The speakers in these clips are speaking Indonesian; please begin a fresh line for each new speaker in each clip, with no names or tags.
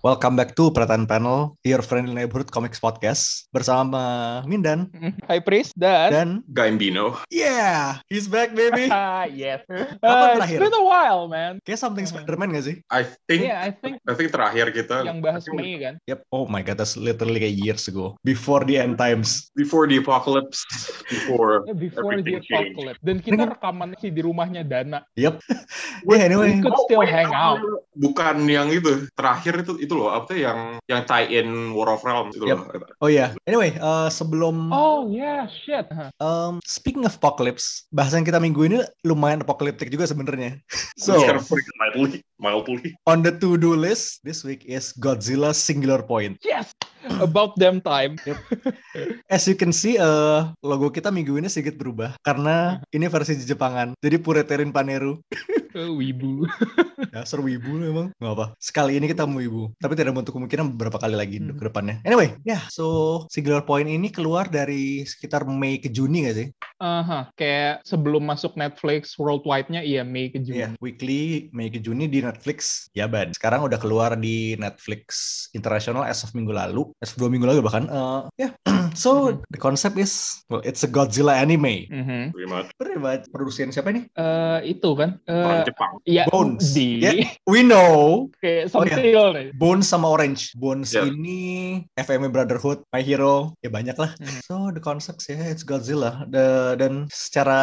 Welcome back to Peratan Panel, your friendly neighborhood comics podcast bersama Mindan
High Priest dan,
dan
Gaimbino.
yeah, he's back baby.
Ah, yes.
Kapan
Uh, it's
terakhir?
been a while, man.
Kayak something Spider-Man gak sih?
I think
Yeah, I think
I think terakhir kita
yang bahas
I think
Mei kan.
Yep. Oh my god, that's literally like years ago. Before the end times.
before the apocalypse before
Yeah, Before
Everything
the apocalypse. Dan kita
kan-
rekaman sih di rumahnya Dana.
Yep. yeah, anyway.
Oh,
Could still
iya.
hang out.
bukan yang itu terakhir itu itu loh apa tuh yang yang tie in War of Realms itu
Yep.
loh
Oh ya. Anyway, eh, sebelum
Oh yeah, shit. Uh-huh.
em,
Huh.
speaking of apocalypse, bahasan kita minggu ini lumayan apokaliptik juga sebenarnya. So,
It's kind of freaking mildly mildly
on the to-do list this week is Godzilla Singular Point.
Yes, about them time.
As you can see, eh, logo kita minggu ini sedikit berubah karena ini versi Jepangan. Jadi pureterin Paneru.
Oh, Wibu.
Dasar wibu lu emang. Nggak apa. Sekali ini kita mau wibu. Tapi tidak untuk kemungkinan beberapa kali lagi
Hmm.
ke depannya. Anyway, ya. So, Singular Point ini keluar dari sekitar Mei ke Juni nggak sih?
Aha, Uh-huh. kayak sebelum masuk Netflix worldwide-nya iya Mei ke Juni.
Iya, weekly Mei ke Juni di Netflix. Ya, Ban. Sekarang udah keluar di Netflix internasional as of minggu lalu, as of dua minggu lalu bahkan. Eh, ya. so,
Mhm.
the concept is well, it's a Godzilla anime.
Mhm.
pretty much
Pretty much. Produksian siapa nih?
Eh, itu kan.
orang
Eh,
Jepang
ya
Bones.
di
Ya. We know
kayak
Oh,
something nih.
Bones sama Orange. Bones
Ya.
ini FMA Brotherhood, My Hero, ya banyak lah.
Mhm.
So the concept ya it's Godzilla. The- dan secara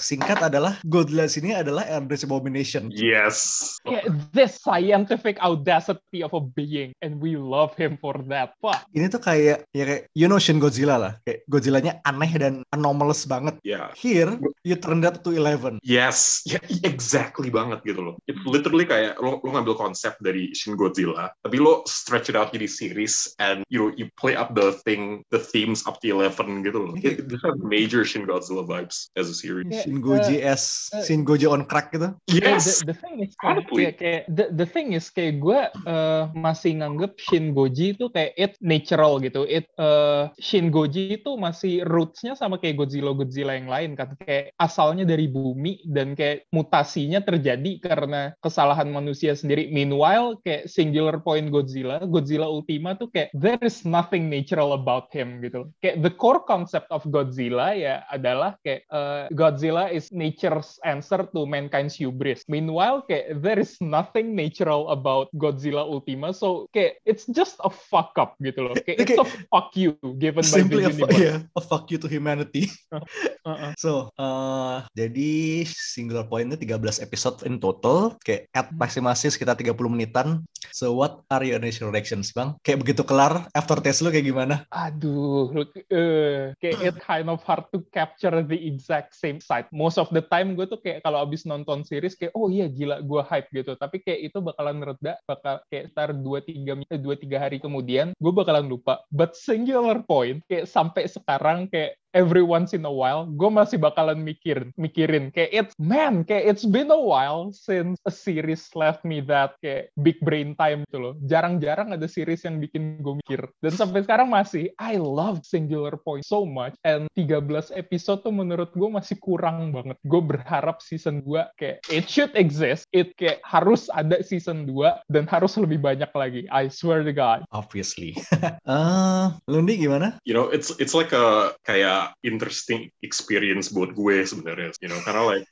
singkat adalah Godzilla sini adalah Embrace Abomination.
yes
Yeah, this scientific audacity of a being, and we love him for that. Fuck.
Ini tuh kayak ya kayak you know Shin Godzilla lah. Kayak Godzillanya aneh dan anomalous banget.
yeah
Here you turn that to 11.
Yes, ya, exactly banget gitu loh. It literally kayak lo, lo ngambil konsep dari Shin Godzilla, tapi lo stretch it out jadi series and you know you play up the thing, the themes up to 11 gitu loh. It, this has major Shin Godzilla vibes as a series.
Kayak,
Shin Goji S, Shin Goji on crack gitu.
Yes,
The, the thing is kayak,
Honestly.
kayak- kayak- the, the thing is kayak gue eh, masih nganggep Shin Goji itu kayak it natural gitu. It eh, Shin Goji itu masih rootsnya sama kayak Godzilla Godzilla yang lain kan kayak asalnya dari bumi dan kayak mutasinya terjadi karena kesalahan manusia sendiri. Meanwhile kayak singular point Godzilla, Godzilla Ultima tuh kayak there is nothing natural about him gitu. Kayak the core concept of Godzilla ya adalah kayak eh, Godzilla is nature's answer to mankind's hubris. Meanwhile kayak there is nothing natural about Godzilla Ultima. So kayak it's just a fuck up gitu loh. Kayak it's a fuck you given by
Simply
the
a, fu- iya.
universe.
yeah, a fuck you to humanity.
Uh-uh.
So, eh, jadi single pointnya 13 episode in total, kayak at masing-masing sekitar 30 menitan. So, what are your initial reactions, Bang? Kayak begitu kelar, after taste lu kayak gimana?
Aduh, look, eh, kayak it kind of hard to capture the exact same side. Most of the time gue tuh kayak kalau abis nonton series kayak oh iya gila gue hype gitu. Tapi kayak itu bakalan reda, bakal kayak ntar 2-3 mi- eh, 2-3 hari kemudian gue bakalan lupa. But singular point kayak sampai sekarang kayak every once in a while gue masih bakalan mikir mikirin kayak it's man kayak it's been a while since a series left me that kayak big brain time tuh loh jarang-jarang ada series yang bikin gue mikir dan sampai sekarang masih I love Singular Point so much and 13 episode tuh menurut gue masih kurang banget gue berharap season 2 kayak it should exist it kayak harus ada season 2 dan harus lebih banyak lagi I swear to God
Obviously. Eh, lu Lundi gimana?
you know it's it's like a kayak interesting experience buat gue sebenarnya, you know, karena like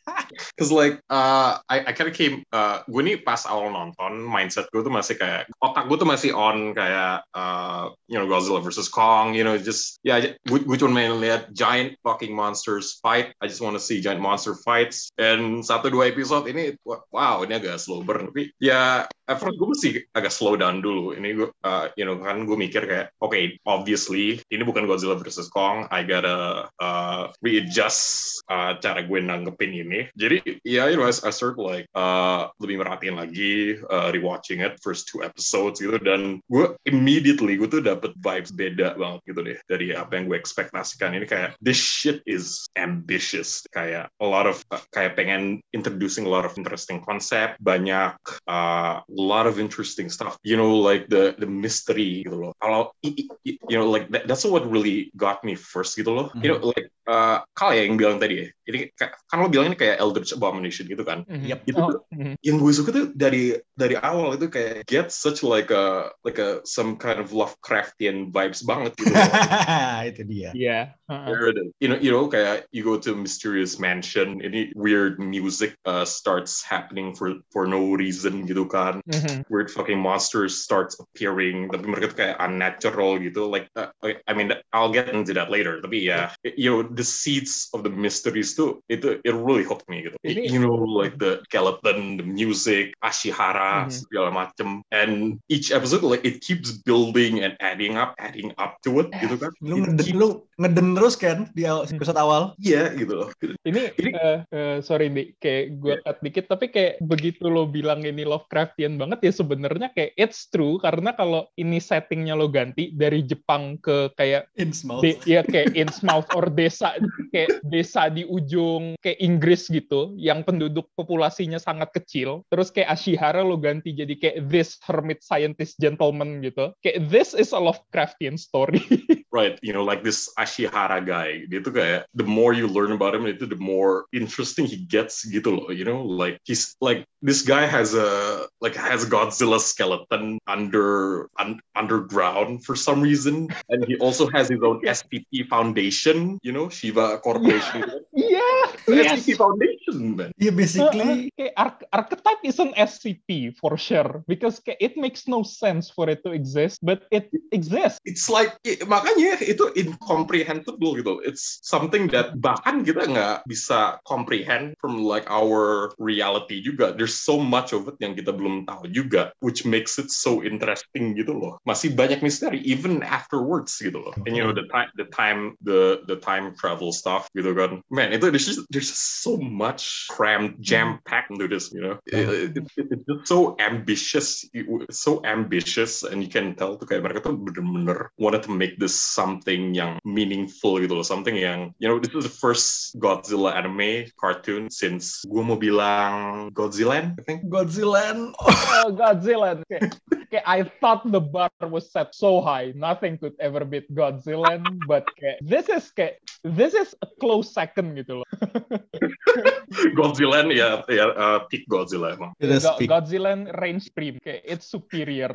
Cause like uh, I, I kind of came, uh, gue nih pas awal nonton mindset gue tuh masih kayak otak gue tuh masih on kayak uh, you know Godzilla versus Kong, you know just yeah, j- gue, gue cuma main lihat giant fucking monsters fight. I just want to see giant monster fights. And satu dua episode ini, wa- wow ini agak slow burn. Tapi ya at first gue masih agak slow down dulu. Ini gue, uh, you know kan gue mikir kayak, oke obviously ini bukan Godzilla versus Kong. I gotta ada uh, readjust uh, cara gue nanggepin ini. Jadi ya you know, I, I started like uh, lebih merhatiin lagi uh, rewatching it first two episodes gitu dan gue immediately gue tuh dapet vibes beda banget gitu deh dari apa yang gue ekspektasikan ini kayak this shit is ambitious kayak a lot of uh, kayak pengen introducing a lot of interesting concept banyak uh, a lot of interesting stuff you know like the the mystery gitu loh kalau i- i- you know like that, that's what really got me first gitu loh you know like uh, Kal ya yang bilang tadi ya ini ka- kan lo bilang ini kayak Eldritch Abomination gitu kan
Mhm.
Yep.
Itu
Oh, mhm.
yang gue suka tuh dari dari awal itu kayak get such like a like a some kind of Lovecraftian vibes banget gitu loh.
itu dia
Iya. Heeh.
There it is. You know, you know, kayak you go to a mysterious mansion, any weird music uh, starts happening for for no reason gitu kan.
Mhm.
Weird fucking monsters starts appearing, tapi mereka tuh kayak unnatural gitu. Like, uh, I I mean, I'll get into that later. Tapi ya, you know, the seeds of the mysteries tuh, itu it really hooked me gitu.
Ini-
You know, like the skeleton, the music, Ashihara,
Mhm.
segala macem. And each episode, like it keeps building and adding up, adding up to it gitu kan.
lu
It
ngeden,
keeps-
lu ngeden terus kan di aw- episode awal
Iya gitu loh.
Ini,
Ini-
eh, eh, sorry Di, kayak gue cut dikit, tapi kayak begitu lo bilang ini Lovecraftian banget, ya sebenarnya kayak it's true, karena kalau ini settingnya lo ganti dari Jepang ke kayak,
in small
de- ya kayak Innsmouth or desa, kayak desa di ujung kayak Inggris gitu, yang penduduk populasinya sangat kecil, terus kayak Ashihara lo ganti jadi kayak this hermit scientist gentleman gitu, kayak this is a Lovecraftian story.
Right, you know, like this Ashihara guy. Dia tuh kayak the more you learn about him, itu the more interesting he gets gitu loh. You know, like he's like this guy has a like has a Godzilla skeleton under un, underground for some reason, and he also has his own SPP foundation. You know, Shiva Corporation.
Iya,
SPP foundation, man.
ya basically
Uh, uh, kayak arch- archetype is an SCP for sure because kayak it makes no sense for it to exist but it exists.
It's like i- makanya itu incomprehensible gitu. It's something that bahkan kita nggak bisa comprehend from like our reality juga. There's so much of it yang kita belum tahu juga, which makes it so interesting gitu loh. Masih banyak misteri even afterwards gitu loh. And you know the time, the time, the the time travel stuff gitu kan. Man, itu there's just, there's just so much crammed, jam packed into this. You know, It- it- it- it's just so ambitious, It- it's so ambitious, and you can tell tuh kayak mereka tuh bener-bener wanted to make this something yang meaningful gitu loh, something yang you know this is the first Godzilla anime cartoon since gue mau bilang Godzilla, I think.
Godzilla
Oh Godzilla. Kayak, kayak I thought the bar was set so high nothing could ever beat Godzilla but kayak this is kayak this is a close second gitu loh.
Godzilla ya ya uh, peak Godzilla emang.
kita
Go-
speak
Godzilla range prime kayak it's superior.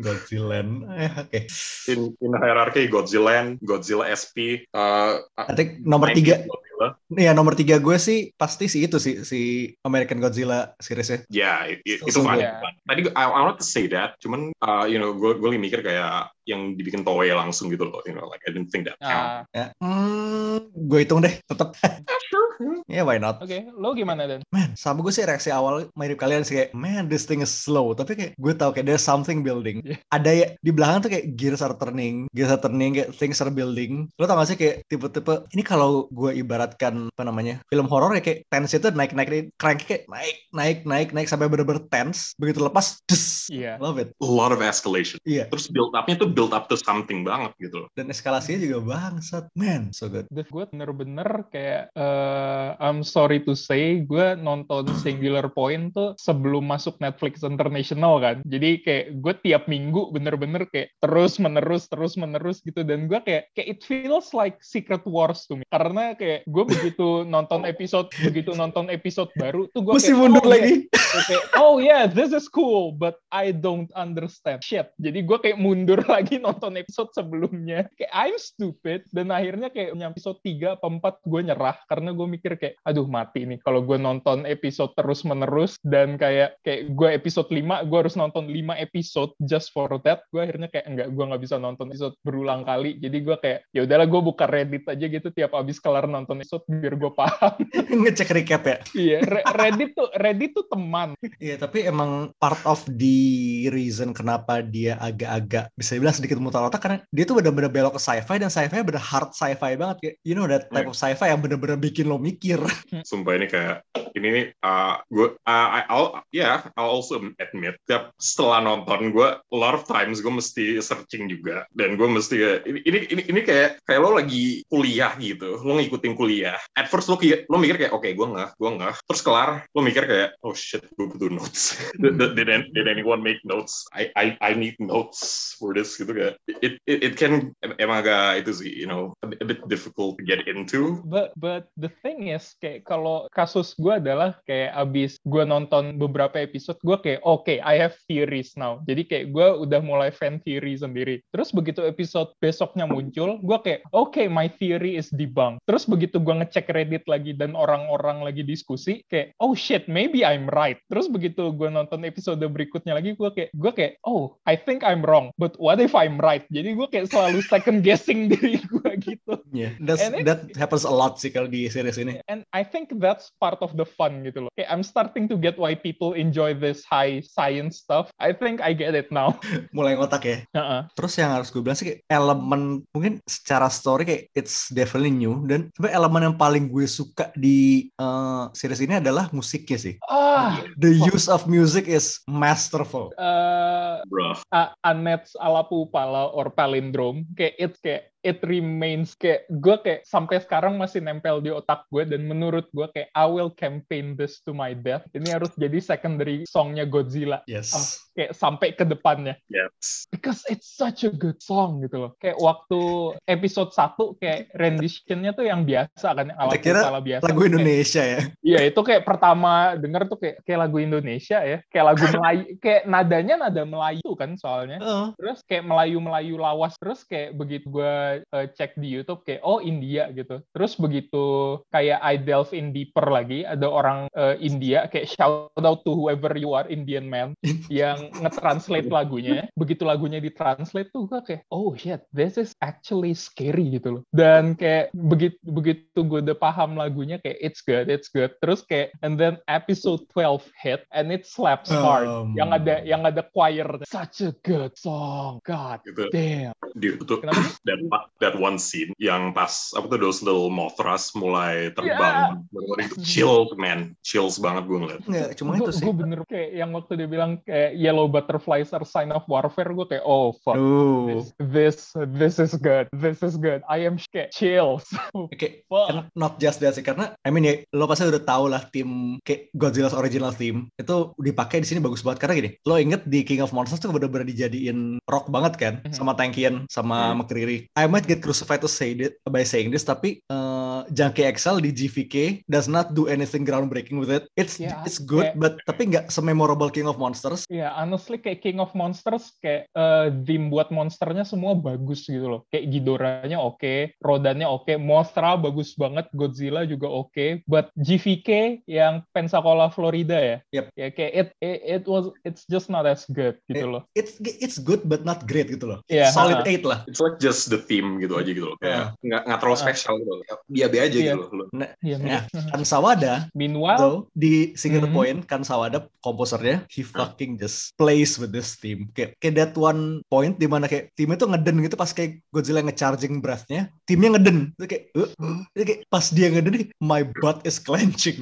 Godzilla eh, oke
In in hierarchy Godzilla, Godzilla SP, uh,
I think nomor tiga
Godzilla.
ya nomor tiga gue sih pasti sih itu sih si American Godzilla seriesnya
Ya, i- i-
So,
itu
so
fun.
good.
Tadi gua- I, I wanted to say that, cuman uh, you know, gue gue mikir kayak yang dibikin Toei langsung gitu loh, you know, like I didn't think that. count.
Ah,
ya hmm, gue hitung deh tetap
Yeah, sure. Hmm.
ya why not
Oke, lo gimana dan?
Man, sama gue sih reaksi awal mirip kalian sih kayak, man this thing is slow. Tapi kayak gue tahu kayak there's something building.
Yeah.
Ada ya di belakang tuh kayak gears are turning, gears are turning kayak things are building. Lo tau gak sih kayak tipe-tipe ini kalau gue ibaratkan apa namanya film horor ya kayak tense itu naik naik naik crank kayak naik naik naik naik sampai bener-bener tense. Begitu lepas, des.
Iya.
Love it.
A lot of escalation.
Iya.
Terus build up-nya tuh build up to something banget gitu. loh.
Dan eskalasinya juga bangsat. Man, so good.
Dan gue bener-bener kayak eh, I'm sorry to say gue nonton Singular Point tuh sebelum masuk Netflix International kan jadi kayak gue tiap minggu bener-bener kayak terus menerus terus menerus gitu dan gue kayak kayak it feels like Secret Wars to me karena kayak gue begitu nonton episode begitu nonton episode baru tuh gue
Mesti
kayak,
mundur
oh,
lagi.
Gue kayak, oh yeah, this is cool, but I don't understand. Shit. Jadi gue kayak mundur lagi nonton episode sebelumnya. Kayak I'm stupid. Dan akhirnya kayak nyampe episode 3 apa 4 gue nyerah. Karena gue mikir kayak, kayak aduh mati nih kalau gue nonton episode terus menerus dan kayak kayak gue episode 5 gue harus nonton 5 episode just for that gue akhirnya kayak enggak gue nggak bisa nonton episode berulang kali jadi gue kayak ya udahlah gue buka Reddit aja gitu tiap abis kelar nonton episode biar gue paham
ngecek recap ya
iya Re- Reddit tuh Reddit tuh teman
Iya, tapi emang part of the reason kenapa dia agak-agak bisa dibilang sedikit mutar otak karena dia tuh bener-bener belok ke sci-fi dan sci-fi bener hard sci-fi banget kayak you know that type of sci-fi yang bener-bener bikin lo mikir.
Sumpah ini kayak ini nih uh, gue uh, I- I'll yeah I'll also admit tiap setelah nonton gue a lot of times gue mesti searching juga dan gue mesti kayak, ini ini ini, ini kayak kayak lo lagi kuliah gitu lo ngikutin kuliah at first lo kayak- lo mikir kayak oke gue nggak gue nggak terus kelar lo mikir kayak oh shit gue butuh notes did, did, did an- did anyone make notes I I I need notes for this gitu kayak it it, it can em- emang agak itu sih you know a, bit- a bit difficult to get into
But but the thing is kayak kalau kasus gue adalah kayak abis gue nonton beberapa episode gue kayak oke I have theories now. Jadi kayak gue udah mulai fan theory sendiri. Terus begitu episode besoknya muncul, gue kayak oke my theory is debunked. Terus begitu gue ngecek Reddit lagi dan orang-orang lagi diskusi kayak oh shit maybe I'm right. Terus begitu gue nonton episode berikutnya lagi gue kayak gue kayak oh I think I'm wrong but what if I'm right? Jadi gue kayak selalu second guessing diri gue gitu.
Yeah. That's,
And it- Iya.
that happens a lot sih kalau di series ini.
And I think that's part of the fun gitu loh. Kayak I'm starting to get why people enjoy this high science stuff. I think I get it now.
Mulai ngotak ya.
Heeh.
Terus yang harus gue bilang sih kayak elemen mungkin secara story kayak it's definitely new dan sebenarnya elemen yang paling gue suka di eh, series ini adalah musiknya sih.
Ah,
The use of music is masterful.
eh,
bro
A- Anets ala Pupala or Palindrome kayak it kayak it remains kayak gue kayak sampai sekarang masih nempel di otak gue dan menurut gue kayak I will campaign this to my death ini harus jadi secondary songnya Godzilla
Yes.
kayak sampai ke depannya
yes
because it's such a good song gitu loh. Kayak waktu episode 1 kayak renditionnya tuh yang biasa kan, yang ala
Saya kira
kepala biasa.
Lagu
Kayak-
Indonesia ya.
Iya itu kayak pertama denger tuh kayak kayak lagu Indonesia ya, kayak lagu Melayu, kayak nadanya nada Melayu kan soalnya.
Heeh.
Terus kayak Melayu-Melayu lawas terus kayak begitu gue cek di YouTube kayak oh India gitu. Terus begitu kayak I delve in deeper lagi ada orang eh, India kayak shout out to whoever you are Indian man yang nge-translate lagunya. Begitu lagunya ditranslate tuh gue kayak oh shit this is actually scary gitu loh. Dan kayak begitu begitu gue udah paham lagunya kayak it's good it's good. Terus kayak and then episode 12 hit and it slaps hard.
Um.
Yang ada yang ada choir such a good song god
gitu
damn
Dude, itu
kenapa sih?
that, that one scene yang pas apa tuh those little Mothras mulai terbang bener-bener itu chills man chills banget gue ngeliat
Nggak, cuma
gue
itu sih.
bener kayak yang waktu dia bilang kayak yellow butterflies are sign of warfare gue kayak oh fuck
Aduh.
this, this this is good this is good I am sh- kayak chills
Oke,
Wah.
and kan not just that sih karena I mean ya lo pasti udah tau lah tim kayak Godzilla's original theme itu dipakai di sini bagus banget karena gini lo inget di King of Monsters tuh bener-bener dijadiin rock banget kan
Mhm.
sama Tankian sama
Mhm.
McCreary I might get crucified to say it by saying this tapi eh, Junkie XL di GVK does not do anything groundbreaking with it it's
Ya,
it's good
kayak-
but tapi nggak sememorable King of Monsters
ya honestly kayak King of Monsters kayak eh theme buat monsternya semua bagus gitu loh kayak Ghidorahnya oke Rodannya oke Mothra bagus banget Godzilla juga oke but GVK yang Pensacola Florida ya
Yep.
ya kayak it, it it was it's just not as good gitu loh
it's it's good but not great gitu loh
Iya,
solid
ha-ha.
8 lah
it's like just the theme gitu aja gitu loh kayak nggak nggak terlalu
Ah.
spesial gitu loh dia be aja
Iya.
gitu loh
Iya,
Nah,
bener.
Kansawada
Meanwhile,
So, di Single
Mhm.
Point kan Sawada komposernya he fucking just plays with this theme kayak kayak that one point di mana kayak timnya tuh ngeden gitu pas kayak Godzilla ngecharging breathnya timnya ngeden Itu kayak, "Eh, eh." Itu kayak pas dia ngeden kayak, my butt is clenching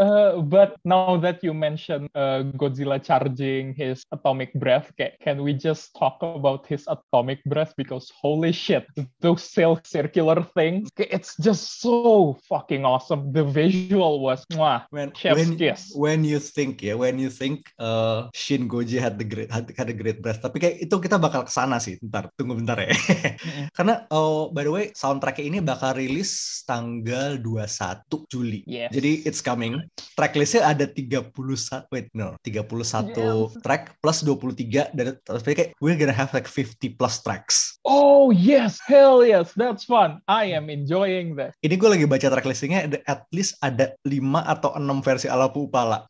uh, but now that you mention uh, Godzilla charging his atomic breath, ca- can we just talk about his atomic breath? Because holy shit, those silk circular things, ca- it's just so fucking awesome. The visual was, mwah.
when
Chef's
when,
kiss.
when you think ya when you think uh, Shin Goji had the great had, had a great breath tapi kayak itu kita bakal kesana sih ntar tunggu bentar ya karena oh by the way soundtracknya ini bakal rilis tanggal 21 Juli
Yes.
Jadi it's coming. Tracklistnya ada 31 wait no 31
Yes.
track plus 23 dari terus kayak we're gonna have like 50 plus tracks.
Oh yes, hell yes, that's fun. I am enjoying that.
Ini gue lagi baca track listingnya, ada- at least ada 5 atau 6 versi ala Pupala.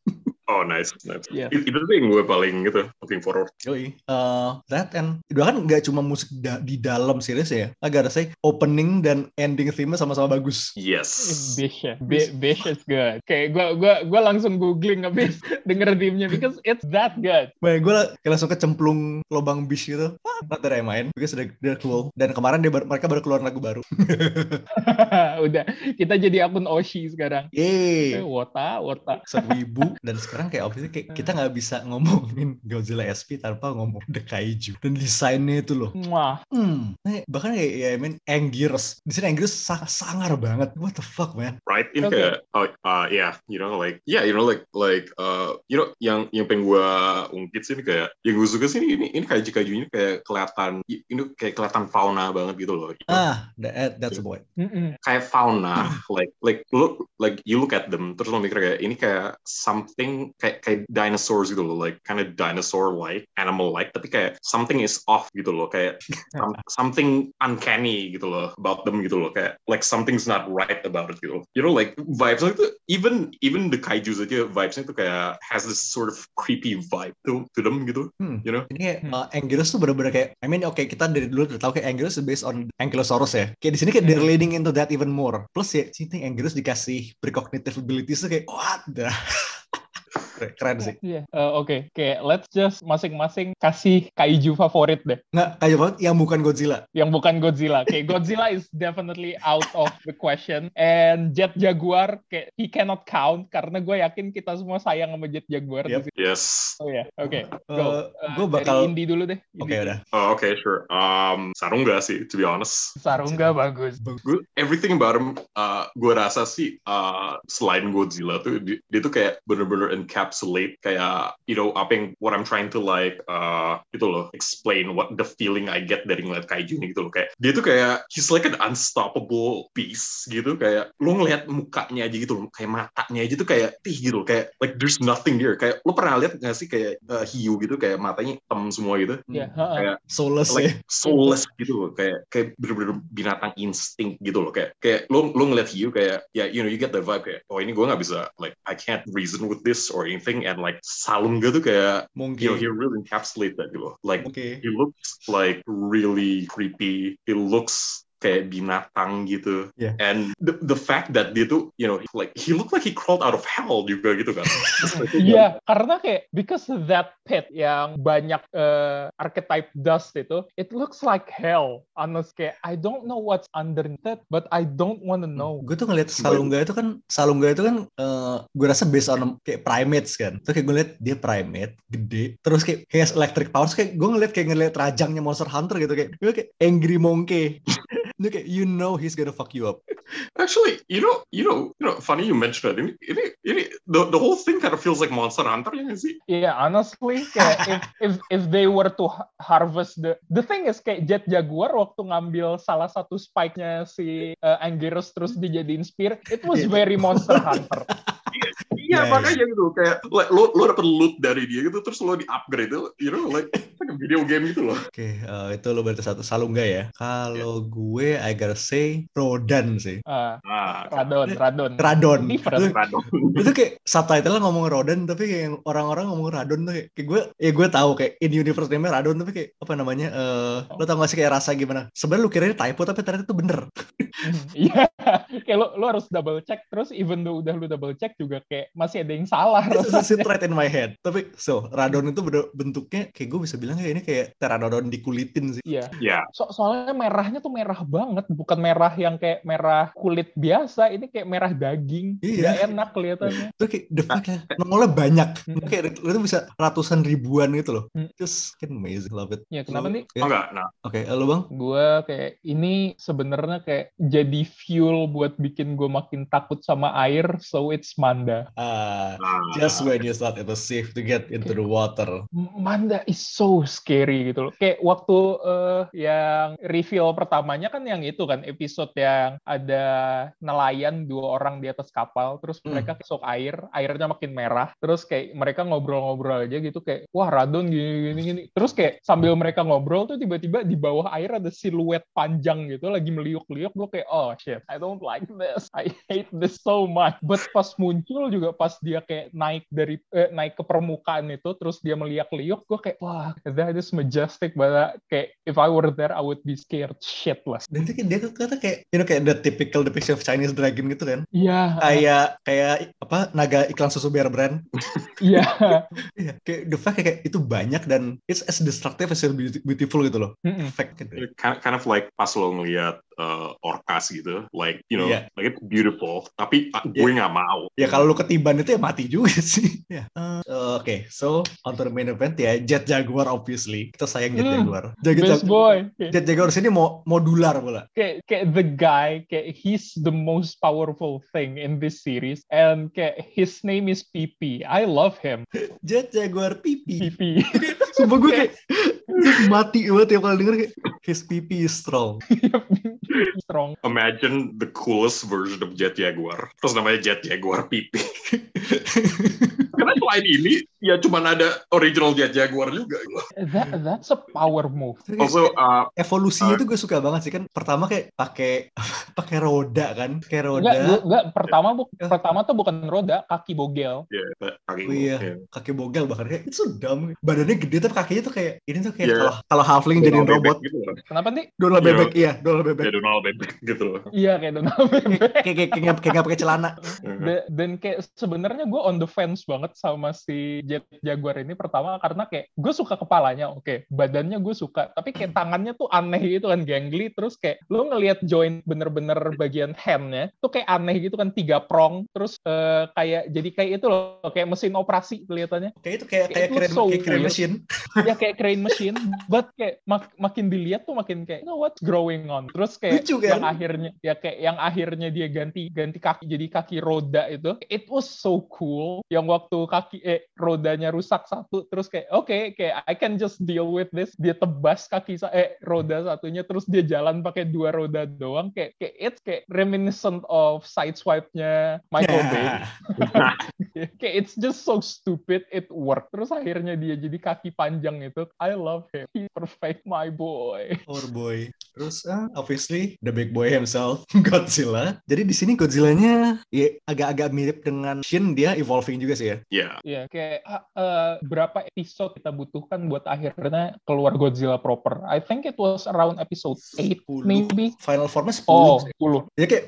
Oh nice, nice.
Yeah.
Itu tuh yang gue paling gitu looking forward.
Yoi. Eh, that and, itu kan nggak cuma musik da- di dalam series ya. Agak rasanya opening dan ending theme sama-sama bagus.
Yes.
Bish ya. Bi- Bish is good. Kayak gue gua, gua langsung googling abis denger theme-nya because it's that good.
Banyak gue langsung kecemplung lubang bis gitu. Wah, not that I mind, because they're, they're cool. Dan kemarin dia, bar- mereka baru keluar lagu baru.
Udah, kita jadi akun Oshi sekarang. Eh,
Yeay.
wota, wota.
Seribu. Dan sekarang kayak obviously kayak kita nggak bisa ngomongin Godzilla SP tanpa ngomong The Kaiju. Dan desainnya itu loh.
Wah,
Hmm. Nah, bahkan kayak, ya, I mean, Angiers. Di sini Angiers sang- sangar banget. What the fuck, man?
right in
Okay.
the uh, uh, yeah you know like yeah you know like like uh you know yang yang pengen gue ungkit sih ini kayak yang gue suka sih ini ini, ini kayak kajunya kayak kelihatan ini kayak kelihatan fauna banget gitu loh you know.
Ah, that, that's a boy.
Mm-mm.
kayak fauna like like look like you look at them terus lo mikir kayak ini kayak something kayak kayak dinosaurs gitu loh like kind of dinosaur like animal like tapi kayak something is off gitu loh kayak some- something uncanny gitu loh about them gitu loh kayak like something's not right about it gitu loh. you know like vibes itu even even the kaiju saja vibesnya itu kayak has this sort of creepy vibe to to them gitu
Hmm.
You know?
Ini kayak
Hmm.
uh, Ankylos tuh bener-bener kayak, I mean, oke kita dari dulu udah tahu kayak Ankylos is based on Ankylosaurus ya. Kayak di sini kayak
Hmm.
they're leaning into that even more. Plus ya, sini Ankylos dikasih precognitive abilities tuh kayak, what the? Keren- Keren sih.
Yeah. Eh, Oke, kayak let's just masing-masing kasih kaiju favorit deh.
Nggak, kayak banget yang bukan Godzilla.
yang bukan Godzilla. Kayak Godzilla is definitely out of the question. And Jet Jaguar, kayak he cannot count karena gue yakin kita semua sayang sama Jet Jaguar. di
Yep.
situ.
yes
Oh ya, oke. Go.
Eh,
Eh,
gue
dari
bakal-
Indi dulu deh.
Oke
Indi.
udah.
oh, okay sure um sarungga sih to be honest
Sarungga bagus.
Gue- everything about him, uh, gue rasa sih uh, selain Godzilla tuh di- dia, tuh kayak bener-bener encapsulate kayak you know apa yang what I'm trying to like uh, itu loh explain what the feeling I get dari ngeliat kaiju ini gitu loh kayak dia tuh kayak he's like an unstoppable beast gitu kayak lo ngeliat mukanya aja gitu loh, kayak matanya aja tuh kayak tih gitu loh, kayak like there's nothing there kayak lo pernah lihat nggak sih kayak uh, hiu gitu kayak matanya hitam semua gitu
Ya,
Hmm.
heeh.
Soulless ya.
like soulless gitu loh kayak kayak bener-bener binatang insting gitu loh kayak kayak lo lo ngeliat hiu kayak ya you know you get the vibe kayak oh ini gue nggak bisa like I can't reason with this or anything and like Salung gitu kayak you know he
Mungkin.
really encapsulate that gitu loh like
Oke.
he looks like really creepy he looks kayak binatang gitu
Yeah.
and the, the fact that dia tuh you know like he looked like he crawled out of hell juga gitu kan
Iya, karena kayak because that pit yang banyak eh, archetype dust itu, it looks like hell. Honest kayak I don't know what's underneath it, but I don't wanna know.
Gue tuh ngeliat Salungga itu kan Salungga itu kan eh, gue rasa based on kayak primates kan. Terus kayak gue liat dia primate gede. Terus kayak he has electric powers kayak gue ngeliat kayak ngeliat rajangnya Monster Hunter gitu kayak gue kayak angry monkey. Dia kayak you know he's gonna fuck you up.
Actually, you know, you know, you know. Funny you mentioned that. Ini, ini, ini. The, the whole thing kind of feels like Monster Hunter, ya nggak sih?
Yeah, Iya, honestly, kayak if if if they were to ha- harvest the the thing is kayak Jet Jaguar waktu ngambil salah satu spike-nya si uh, Anguirus terus dijadiin spear, it was
Iya.
very Monster Hunter.
Ya,
Iya, makanya gitu. Kayak like, lo, lo dapet loot dari dia gitu, terus lo di upgrade, you know, like, like a video game gitu loh.
Oke eh, itu lo berarti satu Salungga ya. Kalau gue I gotta say Rodan sih.
Ah,
Ah,
Radon, Radon.
Radon.
Different.
Lu- itu kayak subtitle ngomong Rodon tapi kayak yang orang-orang ngomong Radon tuh kayak, kayak gue ya gue tahu kayak in universe name Radon tapi kayak apa namanya eh lo tau gak sih kayak rasa gimana sebenarnya lu kirain typo tapi ternyata itu bener
Iya. kayak lo, lo harus double check terus even though udah lu double check juga kayak masih ada yang salah
It's a shit
rasanya.
right in my head tapi so Radon itu bener, bentuknya kayak gue bisa bilang kayak ini kayak Pteranodon dikulitin sih
Iya.
Ya,
So- soalnya merahnya tuh merah banget, bukan merah yang kayak merah kulit biasa, ini kayak merah daging.
Iya.
Nggak enak kelihatannya.
itu kayak the fuck ya nongolnya banyak
Hmm.
kayak lu tuh bisa ratusan ribuan gitu loh
Hmm.
just fucking amazing love it
Ya, kenapa
Lu-
nih?
ya,
oh, enggak. Nah,
Oke, eh, lu bang?
gue kayak ini sebenarnya kayak jadi fuel buat bikin gue makin takut sama air so it's manda
Ah, Ah,
nah.
just when you thought it was safe to get into the water.
Manda is so scary gitu loh. Kayak waktu eh, yang reveal pertamanya kan yang itu kan episode yang ada nelayan dua orang di atas kapal terus
Hmm.
mereka kesok air, airnya makin merah. Terus kayak mereka ngobrol-ngobrol aja gitu kayak wah radon gini gini gini. Terus kayak sambil mereka ngobrol tuh tiba-tiba di bawah air ada siluet panjang gitu lagi meliuk-liuk gue kayak oh shit I don't like this. I hate this so much. But pas muncul juga pas dia kayak naik dari eh, naik ke permukaan itu terus dia meliuk-liuk gue kayak wah that is majestic but uh, kayak if I were there I would be scared shitless.
Dan itu kayak- dia kata kayak, you know, kayak the typical depiction of Chinese dragon gitu kan.
Iya.
Kayak, kayak apa, naga iklan susu bear brand.
Iya.
Iya, Kayak the fact kayak itu banyak dan it's as destructive as beauti- beautiful gitu loh.
Mm-mm.
Fact gitu.
kind, kind of like pas lo ngeliat uh, orcas gitu, like you know,
Yeah.
like it's beautiful, tapi uh, gue nggak mau.
Ya Iya. kalau lu ketiban itu ya mati juga sih. Ya. Eh, Oke, so on to the main event ya Jet Jaguar obviously. Kita sayang Jet
Hmm,
Jaguar. Jet, Jaguar.
Best boy. Kayak-
Jet Jaguar sini mau modular pula.
kayak kayak the guy kayak he's the most powerful thing in this series and kayak his name is PP I love him
Jet Jaguar pipi.
PP
Sumpah gue kayak gue mati banget tiap kali denger kayak his pipi is strong.
strong
Imagine the coolest version of Jet Jaguar, terus namanya Jet Jaguar PP. Karena selain ini, ya cuman ada original Jet Jaguar juga.
Iya.
that that's a power move
Terus kayak-
Also, uh,
evolusinya tuh gue suka banget sih kan pertama kayak pakai pakai roda kan pakai
Enggak,
roda
gua- enggak, pertama bu,
Ya.
pertama tuh bukan roda, kaki bogel.
yeah, kaki
Oh, iya.
yeah.
kaki bogel bahkan kayak itu dumb badannya gede tapi kakinya tuh kayak ini tuh kayak
Iya.
kalau kalau halfling jadiin
Donald
robot
Bebek gitu loh.
Kenapa nih?
dolar
Iya.
bebek iya dolar bebek
Ya, Donald Bebek gitu loh.
Iya kayak Donald Bebek.
kayak kayak kayak nggak- kayak nggak pakai celana
Da- dan kayak sebenarnya gue on the fence banget sama si Jet Jaguar ini pertama karena kayak gue suka kepalanya oke badannya gue suka tapi kayak tangannya tuh aneh gitu kan gangly terus kayak lu ngelihat joint bener-bener bagian handnya tuh kayak aneh gitu kan tiga prong terus eh, kayak jadi kayak itu loh kayak mesin operasi kelihatannya
kayak itu kayak kayak
It
keren
looks so
kayak keren
weird.
mesin
ya kayak crane machine but kayak mak- makin dilihat tuh makin kayak you know what's growing on terus kayak
lucu
yang
kan
akhirnya ya kayak yang akhirnya dia ganti ganti kaki jadi kaki roda itu it was so cool yang waktu kaki eh rodanya rusak satu terus kayak oke kayak I can just deal with this dia tebas kaki sa- eh roda satunya terus dia jalan pakai dua roda doang kayak kayak it's kayak reminiscent of sideswipe-nya
Nah.
Michael Bay kayak it's just so stupid it worked terus akhirnya dia jadi kaki panjang itu I love him he's perfect my boy
Our boy. Terus ah, obviously the big boy himself Godzilla. Jadi di sini Godzilla-nya ya agak-agak mirip dengan Shin dia evolving juga sih ya.
Yeah.
Ya, kayak ah, eh, berapa episode kita butuhkan buat akhirnya keluar Godzilla proper? I think it was around episode 8
Sepuluh.
maybe.
Final formnya 10.
Oh, 10. Oke,
Ya kayak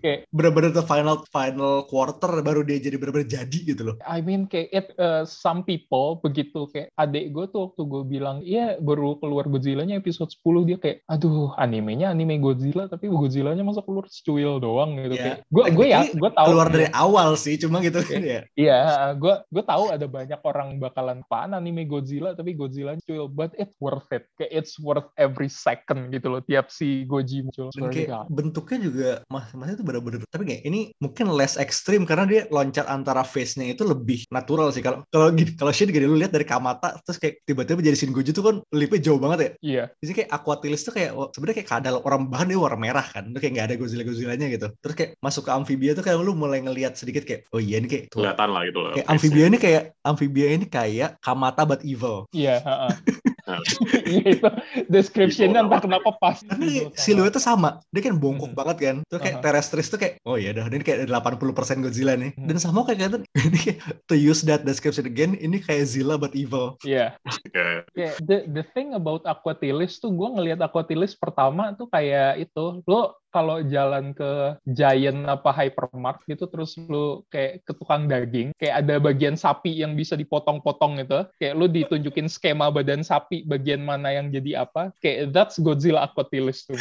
kayak
bener-bener the final final quarter baru dia jadi bener-bener jadi gitu loh.
I mean kayak it, eh, some people begitu kayak adik gue tuh waktu gue bilang iya baru keluar Godzilla-nya episode 10 dia kayak aduh animenya anime Godzilla tapi Godzilla-nya masa keluar secuil doang gitu
Ya.
kayak gue gue ya
Ini
gue tahu
Keluar dari awal sih cuma gitu kan ya.
Iya, gue gue tahu ada banyak orang bakalan pan anime Godzilla, tapi Godzilla cuy, but it's worth it. Kayak it's worth every second gitu loh tiap si Goji muncul.
Dan
Swear to
kayak
God.
bentuknya juga masing-masing itu bener-bener tapi kayak ini mungkin less ekstrim karena dia loncat antara face-nya itu lebih natural sih kalau kalau gini- kalau Shin gini lu lihat dari Kamata terus kayak tiba-tiba jadi Shin Gojo tuh kan lipnya jauh banget ya
Iya,
Jadi kayak Aquatilis tuh kayak wah, sebenarnya kayak kadal orang bahan dia warna merah kan. Itu kayak nggak ada Godzilla Godzillanya gitu. Terus kayak masuk ke amfibia tuh kayak lu mulai ngelihat sedikit kayak oh iya ini kayak tuh.
Kelihatan lah gitu loh.
Kayak amfibia ini kayak amfibia ini kayak Kamata but evil.
iya. ha-ha.
Nah.
Iya, itu
Iya,
description-nya entah kenapa pas.
Karena kayak
gitu, sama.
siluetnya sama. Dia kan bongkok
Mhm.
banget kan. Terus kayak
Aha.
terrestris tuh kayak oh iya dah ini kayak 80% Godzilla nih.
Hmm.
Dan sama kayak kelihatan ini kayak to use that description again ini kayak Zilla but evil.
Iya.
Yeah.
Kayak the the thing about Aquatilis tuh gue ngelihat Aquatilis pertama tuh kayak itu lo kalau jalan ke Giant apa hypermart gitu terus lo kayak ke tukang daging kayak ada bagian sapi yang bisa dipotong-potong gitu kayak lo ditunjukin skema badan sapi bagian mana yang jadi apa kayak that's Godzilla Aquatilis tuh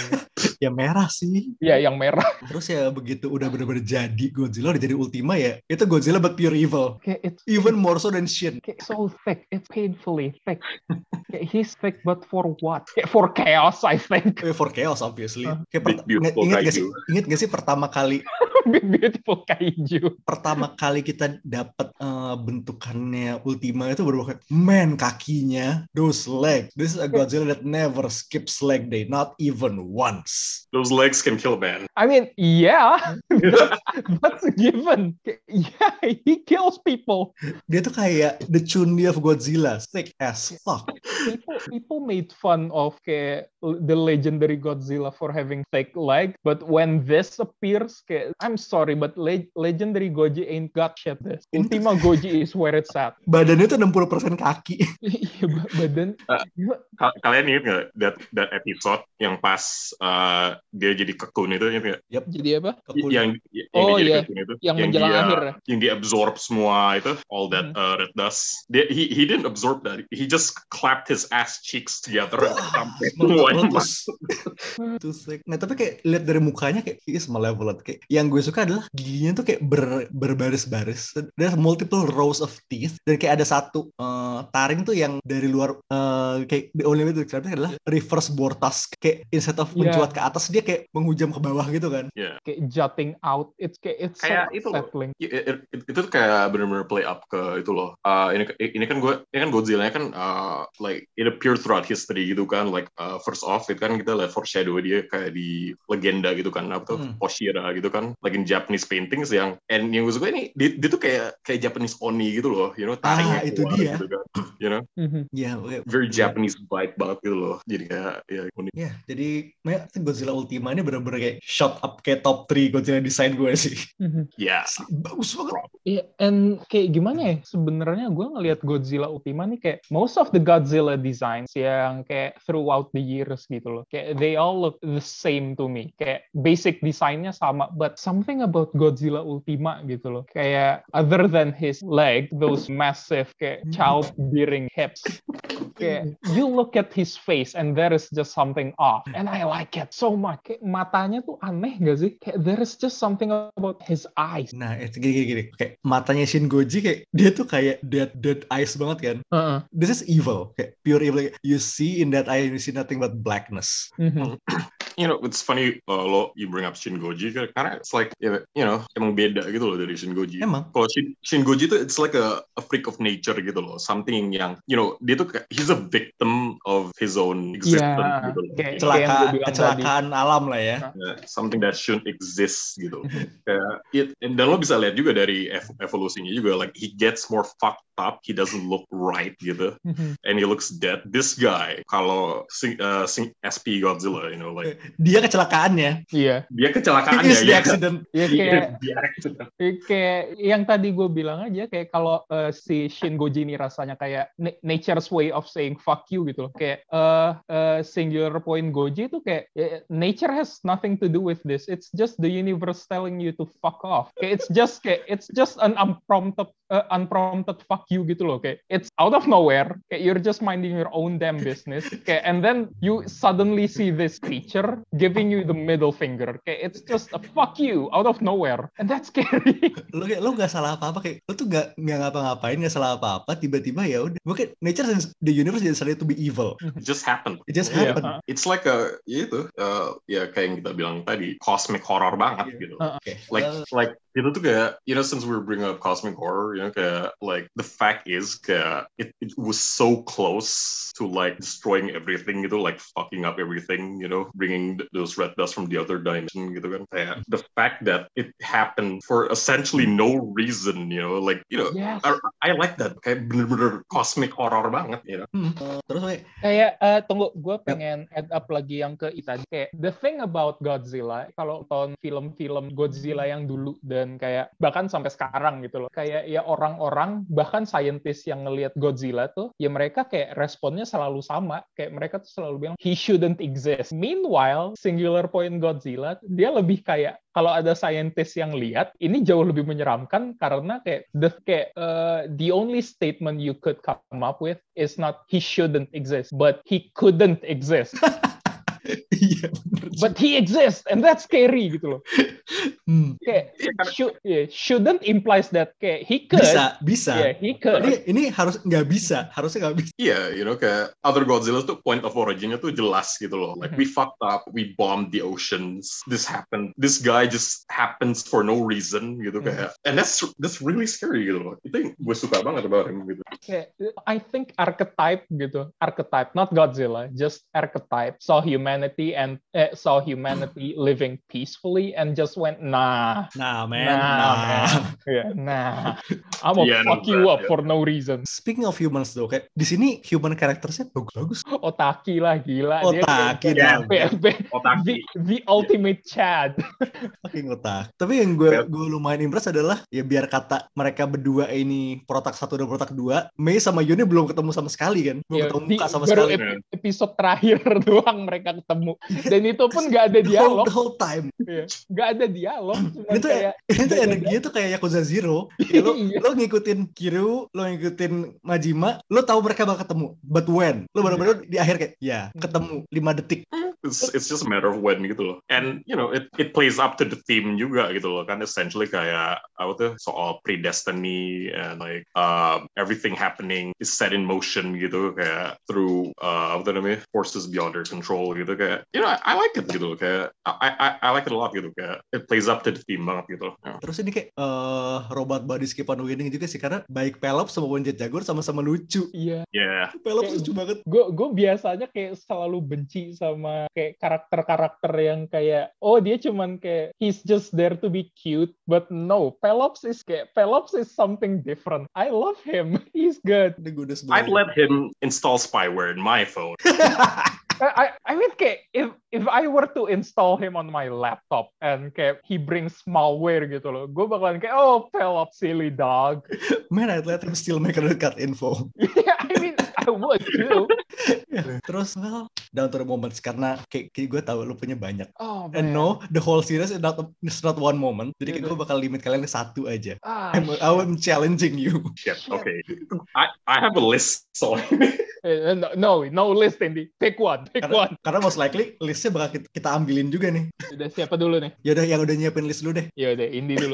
Ya merah sih.
ya yang merah
Terus ya begitu udah bener-bener jadi Godzilla udah jadi Ultima ya. Itu Godzilla but pure evil.
kayak it's
Even more so than Shin.
kayak so thick it's painfully thick kayak he's thick but for what kayak for chaos I think
Eh, for chaos obviously.
Huh?
Kayak
Big
pert-
Beautiful gitu.
ingat
Guy
gak sih
juga.
ingat gak sih pertama kali
Beautiful kaiju.
pertama kali kita dapat eh, bentukannya Ultima itu baru kayak man kakinya those legs this is a Godzilla that never skips leg day not even once
Those legs can kill a man.
I mean, yeah, that's, that's a given. Yeah, he kills people.
dia tuh kayak the chundi of Godzilla thick as fuck
People, people made fun of kayak, the legendary Godzilla for having thick leg, but when this appears, kayak, I'm sorry, but le- legendary Goji ain't got shit. This Ultima Goji is where it's at.
badannya tuh 60% kaki
Iya, ba- badan
Ka- Kalian ingat nggak that, that episode yang pas uh, dia jadi kekun itu? Ingat nggak?
jadi apa?
Kekun.
Yang, yang
Oh,
dia jadi
iya.
kekun itu?
Yang menjelang
dia-
akhir. Hmm.
Yang dia absorb semua itu, all that uh, red dust. Dia, he, he didn't absorb that. He just clapped his ass cheeks together. and sampai semuanya
Meletus. Too sick. Nah tapi kayak lihat dari mukanya kayak he is malevolent kayak yang gue suka adalah giginya tuh kayak ber- berbaris-baris there's multiple rows of teeth dan kayak ada satu eh, taring tuh yang dari luar eh, kayak the only way to describe it adalah reverse Bortas kayak instead of
Iya.
mencuat ke atas dia kayak menghujam ke bawah gitu kan
kayak jutting out. It's kayak it's so
Kayak itu loh.
unsettling.
I- i- i- itu tuh kayak bener-bener play up ke itu loh. Uh, ini ini kan gue ini kan Godzilla kan uh, like it appeared throughout history gitu kan like uh, first off itu kan kita lihat foreshadow dia kayak di legenda gitu kan apa tuh
Hmm.
Oshira gitu kan like in Japanese paintings yang and yang gue suka ini dia, dia tuh kayak kayak Japanese oni gitu loh you know taringnya
Ah, itu
keluar
dia.
gitu kan you know
Mhm.
ya oke.
very Japanese vibe banget gitu loh jadi kayak ya unik
Ya, jadi makanya Godzilla Ultima ini bener-bener kayak shot up kayak top 3 Godzilla design gue sih.
Mhm.
ya
Bagus banget.
Iya, and kayak gimana ya? Sebenarnya gue ngelihat Godzilla Ultima nih kayak most of the Godzilla designs yang kayak throughout the years gitu loh. Kayak they all look the same to me. Kayak basic desainnya sama, but something about Godzilla Ultima gitu loh. Kayak other than his leg, those massive kayak childbearing hips. Kayak you look at his face and there is just something off. And I like it so much. Kayak matanya tuh aneh gak sih? Kayak there is just something about his eyes.
Nah, itu gini, gini, gini. Kayak matanya Shin Goji kayak dia tuh kayak dead dead eyes banget kan.
Heeh.
This is evil, kayak pure evil. Like, You see in that eye, you see nothing but blackness.
Mhm.
you know it's funny uh, lo you bring up Shin Goji karena it's like ya, you know emang beda gitu loh dari Shin Goji
Emang
Kalau Shin, Shin Goji itu it's like a, a freak of nature gitu loh, something yang you know dia tuh kayak- he's a victim of his own existence
Iya,
gitu loh.
kayak-
Celaka.
yang gue
celaka,
bilang
kecelakaan alam lah ya.
something that shouldn't exist gitu. Kayak, it- and dan lo bisa lihat juga dari ev- evolusinya juga like he gets more fucked up, he doesn't look right gitu,
Mhm.
and he looks dead. This guy kalau sing, uh, sing SP Godzilla, you know like
Dia kecelakaannya.
Iya,
dia
It
kecelakaan
is the
ya. dia-
accident.
ya kayak iya
Dia, dia accident.
kayak yang tadi gue bilang aja kayak kalau eh, si Shin Goji ini rasanya kayak na- nature's way of saying fuck you gitu loh. Kayak eh, eh, singular point Goji itu kayak eh, nature has nothing to do with this. It's just the universe telling you to fuck off. Kayak it's just kayak it's just an unprompted eh, unprompted fuck you gitu loh kayak it's out of nowhere kayak you're just minding your own damn business kayak and then you suddenly see this creature giving you the middle finger kayak it's just a fuck you out of nowhere and that's scary
Lo kayak lo nggak salah apa-apa kayak lo tuh nggak nggak ngapa-ngapain nggak salah apa-apa tiba-tiba ya udah. Mungkin nature and the universe decided to be evil.
It just happened.
It just
Iya.
happened.
It's like a ya itu uh, ya kayak yang kita bilang tadi cosmic horror
Iya.
banget gitu.
Oke.
Like
Eh,
like itu tuh kayak you know since we were bringing up cosmic horror, you know kayak like the fact is kayak it, it was so close to like destroying everything gitu, like fucking up everything, you know, bringing th- those red dust from the other dimension gitu kan. Kayak the fact that it happened for essentially no reason, you know, like you know.
yes
I like that kayak bener-bener cosmic horror banget, you know.
hmm. Eh, Terus kayak
Kayak eh, tunggu, gue pengen add up lagi yang ke itu tadi. Kayak the thing about Godzilla, kalau nonton film-film Godzilla yang dulu dan kayak bahkan sampai sekarang gitu loh, kayak ya orang-orang bahkan scientist yang ngelihat Godzilla tuh, ya mereka kayak responnya selalu sama. Kayak mereka tuh selalu bilang he shouldn't exist. Meanwhile, singular point Godzilla, dia lebih kayak kalau ada scientist yang lihat ini jauh lebih menyeramkan karena kayak the kayak uh, the only statement you could come up with is not he shouldn't exist but he couldn't exist
Iya, bener.
But he exists and that's scary gitu loh.
Hmm.
Kayak
Iya, karena-
should, yeah, shouldn't implies that kayak he could.
Bisa, bisa.
Yeah, he could.
Ini, ini harus nggak bisa, harusnya nggak bisa.
Iya, you know, kayak Other Godzilla tuh point of origin-nya tuh jelas gitu loh. Like, we fucked up, we bombed the oceans, this happened, this guy just happens for no reason gitu
Mhm.
kayak. And that's that's really scary gitu loh. Itu yang gue suka banget about him gitu.
Kayak, I think archetype gitu, archetype, not Godzilla, just archetype. Saw humanity and eh, saw humanity living peacefully and just went nah,
Nah, man.
Nah,
nah.
man. yeah, nah. I'm gonna
Yeah,
fuck
not
you
bad,
up
yeah.
for no reason.
Speaking of humans tuh, kayak di sini human characters-nya bagus-bagus.
Otaki lah gila Ah, dia.
Otaki
Kayak-
dong.
kayak- kayak- the,
Otak
the ultimate Chad.
Fucking otak. Tapi yang gue gue lumayan impress adalah ya biar kata mereka berdua ini protak satu dan protak dua, Mei sama Yuni belum ketemu sama sekali kan, belum
Ya,
ketemu
di-
muka sama
baru
sekali.
ep- episode terakhir doang mereka ketemu dan itu pun nggak ada
The whole,
dialog
the whole time.
ya. nggak ada dialog cuma
Itu ya?
kayak
Ini tuh
Iya,
energinya tuh kayak Yakuza Zero. Ya, lo,
Iya.
lo ngikutin Kiru, lo ngikutin Majima, lo tahu mereka bakal ketemu. But when? Lo bener-bener di akhir kayak, ya ketemu 5 detik.
It's, it's just a matter of when gitu loh. And you know, it it plays up to the theme juga gitu loh. Kan essentially kayak apa tuh soal predestiny and like uh, everything happening is set in motion gitu kayak through uh, apa tuh namanya forces beyond our control gitu kayak. You know, I, I like it gitu loh kayak I, I I like it a lot gitu kayak it plays up to the theme banget gitu. Loh. Yeah.
Terus ini kayak eh, robot body skip on winning juga sih karena baik Pelop sama Wonjet Jagur sama-sama lucu.
iya
Yeah.
Pelop
Kayak-
lucu
gitu.
banget.
gue gue biasanya kayak selalu benci sama kayak karakter-karakter yang kayak oh dia cuman kayak he's just there to be cute but no Pelops is kayak Pelops is something different I love him he's good
Ini gue udah
I'd
sebelum.
let him install spyware in my phone.
I, I I mean kayak if if I were to install him on my laptop and kayak he brings malware gitu loh, gue bakalan kayak oh fell up silly dog.
Man, I'd let him steal my credit card info. Ya,
yeah, I mean I would too.
Terus, well, down to the moments. Karena kayak, kayak gue tahu lu punya banyak.
Oh man.
And no, the whole series is not, is not one moment. Jadi kayak
Iya.
gue bakal limit kalian ke satu aja.
Ah,
I'm, I'm challenging you.
Shit. Okay. I I have a list. So
eh, no, no no list Indi. Pick one, pick
Karena,
one.
karena most likely listnya bakal kita, kita ambilin juga nih.
Udah siapa dulu nih?
Yaudah, yang udah nyiapin list dulu deh.
Ya udah Indi dulu.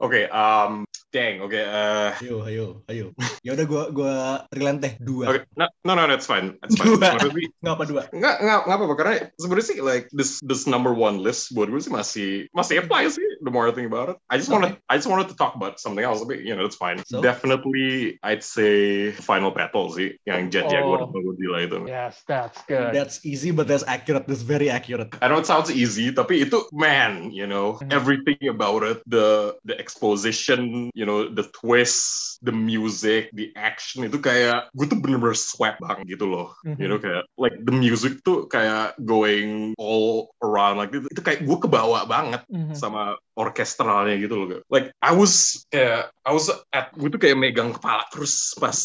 okay. Um. Dang. Okay. Uh.
Ayo, ayo, ayo. Yaudah, gue gua relent deh. Dua.
Okay. No, no, no, that's fine. That's
Dua.
fine. Sebenarnya
Nggak apa dua.
nggak nggak nggak apa-apa karena sebenarnya sih like this this number one list buat gue sih masih masih apply sih the more I think about it I just wanted I just wanted to talk about something else but you know that's fine
So?
definitely I'd say final battle sih yang Jet Jaguar
Oh.
sama Godzilla itu
yes, that's good.
That's easy, but that's accurate. That's very accurate.
I know it sounds easy tapi itu man you know
Mhm.
everything about it the the exposition you know the twist the music the action itu kayak gue tuh bener-bener sweat banget gitu loh you know kayak like the music tuh kayak going all around like itu, itu kayak gue kebawa banget
Mhm.
sama orkestralnya gitu loh like I was kayak I was at gue tuh kayak megang kepala terus pas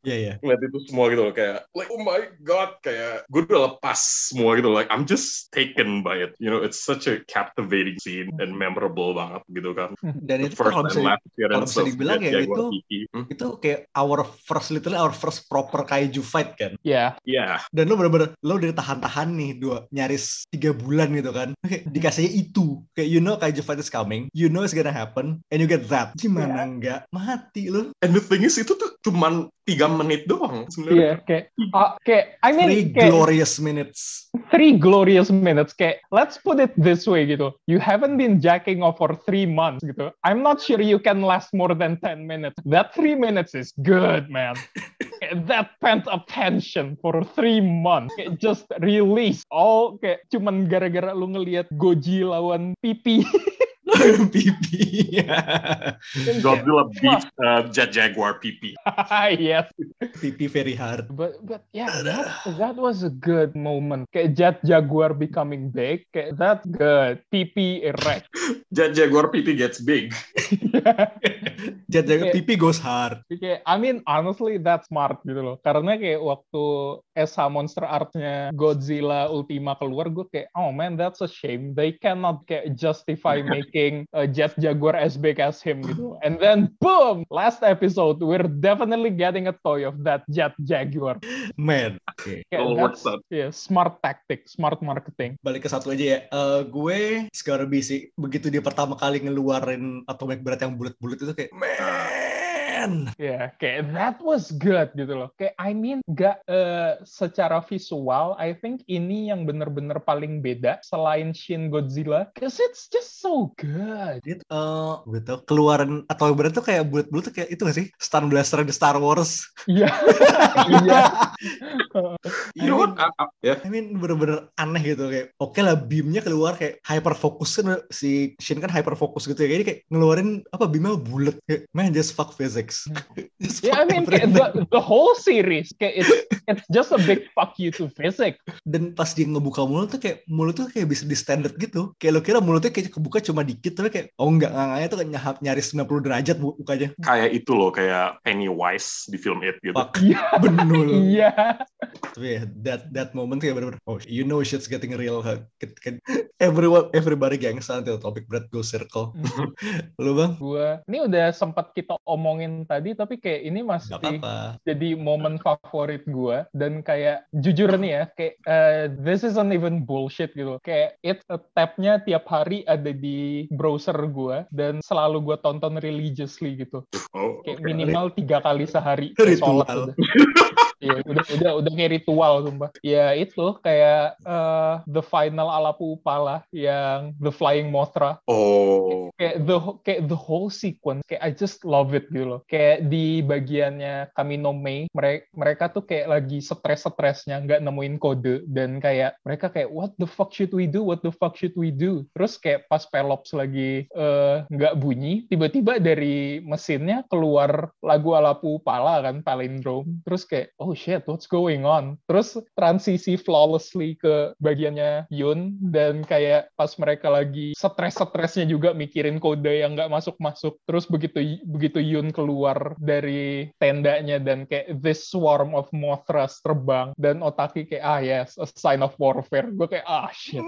Iya, iya.
ngeliat itu semua gitu loh kayak like oh my god kayak gue udah lepas semua gitu like I'm just taken by it you know it's such a captivating scene and memorable banget gitu kan
Dan
The
itu kan
first
kalau
and
bisa
last appearance
bisa
of
dibilang
Jet
ya
Jaguar
itu-
PP. Hmm?
itu kayak our first literally our first proper kaiju fight kan
Yeah.
yeah
dan lo bener-bener lo udah tahan-tahan nih dua nyaris tiga bulan gitu kan Kayak
Hmm.
dikasihnya itu kayak you know kaiju fight is coming you know it's gonna happen and you get that
Iya.
gimana enggak mati lo
and the thing is itu tuh cuman 3 menit doang sebenarnya
Iya, kayak, ah, kayak, I mean,
three
kayak,
glorious minutes
three glorious minutes. Kayak, let's put it this way gitu. You haven't been jacking off for three months gitu. I'm not sure you can last more than 10 minutes. That three minutes is good, man. Kayak that pent up tension for three months. Kayak just release all kayak cuman gara-gara lu ngelihat Goji lawan Pipi.
pipi
Iya.
Godzilla
Iya.
beat uh, Jet Jaguar PP
yes.
pipi very hard
But but yeah, that, that was a good moment. Kayak Jet Jaguar becoming big, kayak that's good. PP erect.
Jet Jaguar PP gets big.
Jet
Kayak-
Jaguar pipi goes hard
Kayak, I mean, honestly, that's smart gitu loh. Karena kayak waktu Esa Monster Art-nya Godzilla Ultima keluar, gue kayak, oh man, that's a shame. They cannot kayak justify making playing uh, Jet Jaguar SBK as him gitu. And then boom, last episode we're definitely getting a toy of that Jet Jaguar.
Man. Oke.
Kayak
All
that's-
works out.
yeah, smart tactic, smart marketing.
Balik ke satu aja ya. Eh, gue Scorbby sih. Begitu dia pertama kali ngeluarin atomic berat yang bulat-bulat itu kayak man.
Ya, kayak that was good gitu loh. Kayak I mean, gak eh, secara visual, I think ini yang bener-bener paling beda selain Shin Godzilla, cause it's just so good.
Dia tuh, eh, gue tau keluaran atomic berat tuh kayak bulat-bulat tuh kayak itu gak sih? Star Blaster di Star Wars.
Iya, iya,
You know what? I- I- yeah.
I mean bener-bener aneh gitu kayak oke lah beamnya keluar kayak hyper fokus kan si Shin kan hyper fokus gitu ya jadi kayak ngeluarin apa beamnya bulat kayak man just fuck physics Just
yeah.
fuck
Ya, I mean, kayak
everything.
the, the whole series, kayak it's it's just a big fuck you to physics.
dan pas dia ngebuka mulut tuh kayak mulut tuh kayak bisa di standar gitu kayak lo kira mulutnya kayak kebuka cuma dikit tapi kayak oh enggak nganganya tuh kayak nyahap nyaris 90 derajat bu- bukanya
Kayak itu loh, kayak Pennywise di film It gitu.
fuck
Iya.
benul
Iya,
tapi ya, that that moment kayak bener-bener oh you know shit's getting real huh? Ket- ket- everyone everybody gangsta until topic bread go circle lu bang
gua ini udah sempat kita omongin tadi, tapi kayak ini masih
Gak apa-apa
jadi momen favorit gue dan kayak jujur nih ya kayak eh, this isn't even bullshit gitu kayak it eh, tabnya tiap hari ada di browser gue dan selalu gue tonton religiously gitu
Oh,
kayak
okay.
minimal tiga kali sehari kayak
Ritual.
sholat udah. Iya, udah udah udah kayak ritual sumpah. Ya itu kayak eh, the final alapu upala yang the flying mothra
Oh.
kayak the kayak the whole sequence kayak I just love it gitu loh kayak di bagiannya Kamino Mei mereka mereka tuh kayak lagi stres-stresnya nggak nemuin kode dan kayak mereka kayak what the fuck should we do what the fuck should we do terus kayak pas Pelops lagi eh, nggak bunyi tiba-tiba dari mesinnya keluar lagu Alapu Pala kan palindrome terus kayak oh shit what's going on terus transisi flawlessly ke bagiannya Yun dan kayak pas mereka lagi stres-stresnya juga mikirin kode yang nggak masuk-masuk terus begitu begitu Yun keluar dari tendanya dan kayak this swarm of mothras terbang dan Otaki kayak ah yes a sign of warfare gue kayak ah shit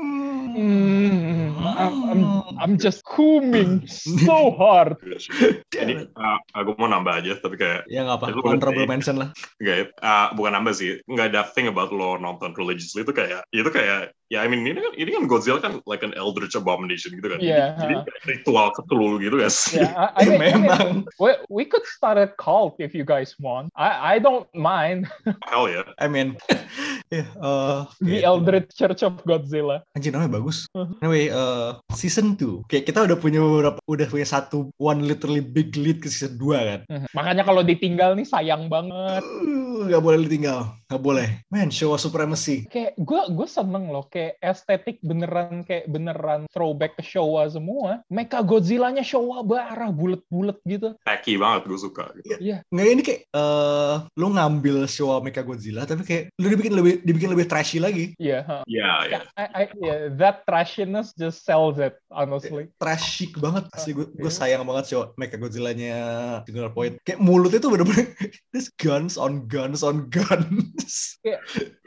Hmm, I'm, I'm, I'm just booming so hard.
Jadi, iya uh, aku mau nambah aja, tapi kayak
ya nggak apa
Itu bener
honorable
sih.
mention lah
Nggak, eh, bukan nambah sih. Nggak ada thing about lo nonton religiously itu kayak, itu kayak, ya I mean, ini kan, ini kan Godzilla kan like an eldritch abomination gitu kan. Jadi-
Iya.
Jadi, kayak ritual ketelu gitu kan sih.
Yeah, I, I mean, I mean,
memang
we, we could start a cult if you guys want. I, I don't mind.
Hell ya.
I mean ya eh,
The Eldritch Church of Godzilla.
Anjir namanya bagus. Anyway, uh, season 2. Kayak kita udah punya beberapa udah punya satu one literally big lead ke season 2 kan.
Makanya kalau ditinggal nih sayang banget.
Uh, gak boleh ditinggal. Gak boleh. Man, show of supremacy.
Kayak gue gue seneng loh kayak estetik beneran kayak beneran throwback ke Showa semua. Mecha Godzilla-nya Showa barah bulet-bulet gitu.
Tacky banget gue suka. Gitu.
Nggak ini kayak eh lu ngambil show Mecha Godzilla tapi kayak lu dibikin lebih dibikin lebih trashy lagi.
Iya. ha.
Ya, ya.
I, I, yeah, that trashiness just sells it honestly.
Eh, Trashy banget. Asli gue, gue
Oke.
sayang banget show Mecha Godzilla-nya Singular Point. Kayak mulutnya tuh bener-bener this guns on guns on guns.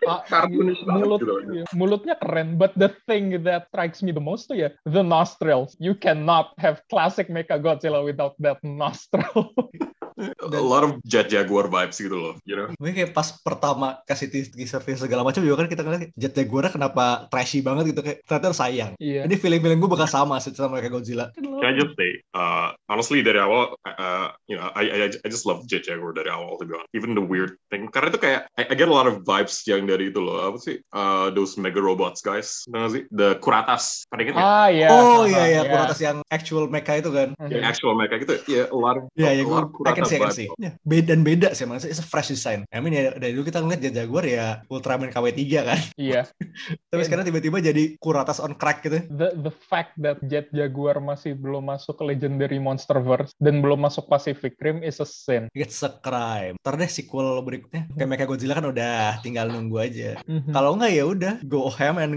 Ah,
Kartunis banget
mulut,
gitu.
iya, mulutnya keren but the thing that strikes me the most tuh ya the nostrils you cannot have classic Mecha Godzilla without that nostril
A lot of Jet Jaguar vibes gitu loh. You know?
Mungkin kayak pas pertama kasih teas- teaser teaser segala macam juga kan kita ngeliat Jet Jaguar kenapa trashy banget gitu kayak ternyata sayang.
iya
Ini feeling-feeling gue bakal sama sih sama kayak Godzilla.
Can I just say, uh, honestly dari awal, uh, you know, I, I I just love Jet Jaguar dari awal to be honest. Even the weird thing, karena itu kayak I, I get a lot of vibes yang dari itu loh, apa sih, uh, those mega robots guys, tau nggak sih, the Kuratas, pada inget nggak?
ah Iya. ya
oh iya iya, Kuratas yang actual mecha itu kan.
Yang actual mereka gitu, ya a lot of,
Iya iya
a
gue
lot of
I can see I
Kurata
can
vibes.
see. Ya, beda dan beda sih maksudnya it's a fresh design. I mean ya, dari dulu kita ngeliat Jet Jaguar ya Ultraman KW3 kan.
iya
Tapi
Iya.
sekarang tiba-tiba jadi Kuratas on crack gitu.
the the fact that Jet Jaguar masih belum masuk ke Legendary Monsterverse dan belum masuk Pacific Rim is a sin
It's a crime. Ntar deh sequel berikutnya kayak Mecha Godzilla kan udah tinggal nunggu aja.
Hmm.
Mhm.
Kalau enggak ya udah go ham and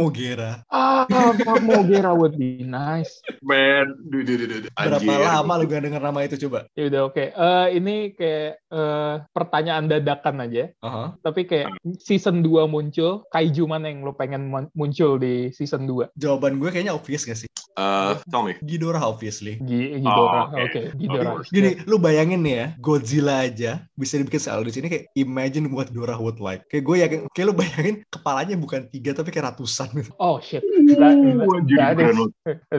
Mogera.
ah Mark Mogera would be nice
Man, dude, dude, dude, dude.
Berapa
Anjir.
lama lu gak denger nama itu coba?
ya udah oke eh, ini kayak eh, pertanyaan dadakan aja.
Aha.
Tapi kayak season 2 muncul, kaiju mana yang lo pengen mon- muncul di season 2?
Jawaban gue kayaknya obvious gak sih?
Uh, tell me.
Ghidorah obviously.
Gi- Ghidorah.
Oh, oke.
Oke, Ghidorah.
course.
Gini, lu bayangin nih ya, Godzilla aja bisa dibikin soal di sini kayak imagine what Dora would like. Kayak gue yakin, kayak lu bayangin kepalanya bukan tiga tapi kayak ratusan gitu.
Oh shit. That,
Anjir,
that is
beneran.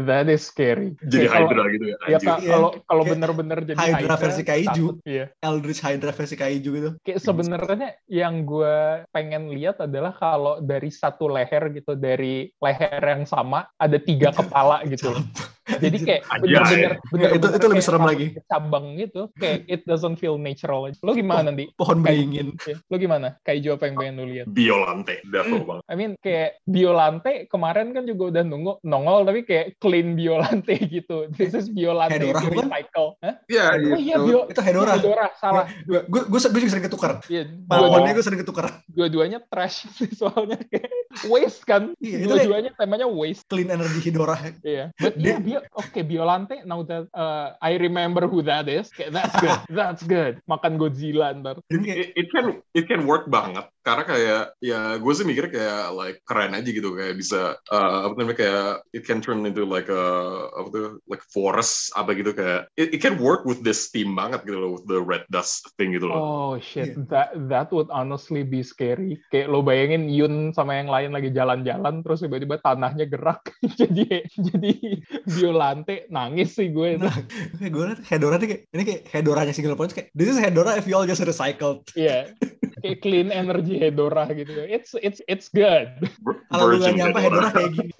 that is scary.
jadi
Kayak Iya, kalau-
Hydra gitu ya.
Ya
anjir.
Kak,
Iya.
kalau kalau
Kayak
bener-bener jadi
Hydra versi kaiju.
takut, Iya.
Eldritch Hydra versi kaiju gitu.
Kayak sebenarnya yang gue pengen lihat adalah kalau dari satu leher gitu, dari leher yang sama ada
Iya.
tiga kepala gitu. loh. Jadi kayak
Anjay.
bener-bener bener-bener
itu- itu lebih
kayak
serem
sama
lagi.
Cabang gitu, kayak it doesn't feel natural. Lo
Oh,
gimana nanti? iya.
Pohon beringin.
Lo gimana? Kaiju apa yang pengen lo lihat?
Biolante, Davo banget.
I mean kayak Biolante kemarin kan juga udah nunggu nongol tapi kayak clean Biolante gitu. This is Biolante
Kayak Dora,
di
bukan?
recycle. Hah?
Iya,
Oh iya Bio
Itu Hedora.
Dora salah.
Gue gue gue juga sering ketukar.
Iya,
Pahlawannya gue sering ketukar.
dua-duanya trash sih soalnya kayak waste kan
Iya, itu kayak-
dua-duanya temanya waste
Clean energy Hidora.
iya but
Dia-
yeah, Bio- oke Biolante now that uh, I remember who that is kayak that's good that's good makan Godzilla ntar
Dan kayak,
It, it can it can work banget karena kayak ya gue sih mikir kayak like keren aja gitu kayak bisa eh, apa namanya kayak it can turn into like a apa tuh like forest apa gitu kayak it, it can work with this theme banget gitu loh with the red dust thing gitu loh
oh shit
Iya.
that that would honestly be scary kayak lo bayangin Yun sama yang lain lagi jalan-jalan terus tiba-tiba tanahnya gerak jadi jadi Biolante nangis sih gue itu.
Nah. kayak gue liat Hedora tuh kayak, ini kayak Hedoranya single point kayak, this is Hedora if you all just recycled.
iya kayak clean energy Hedora gitu it's it's it's good
Vir-
Kalau lu gak
virgin
nyampe
Hedora.
Hedora kayak gini.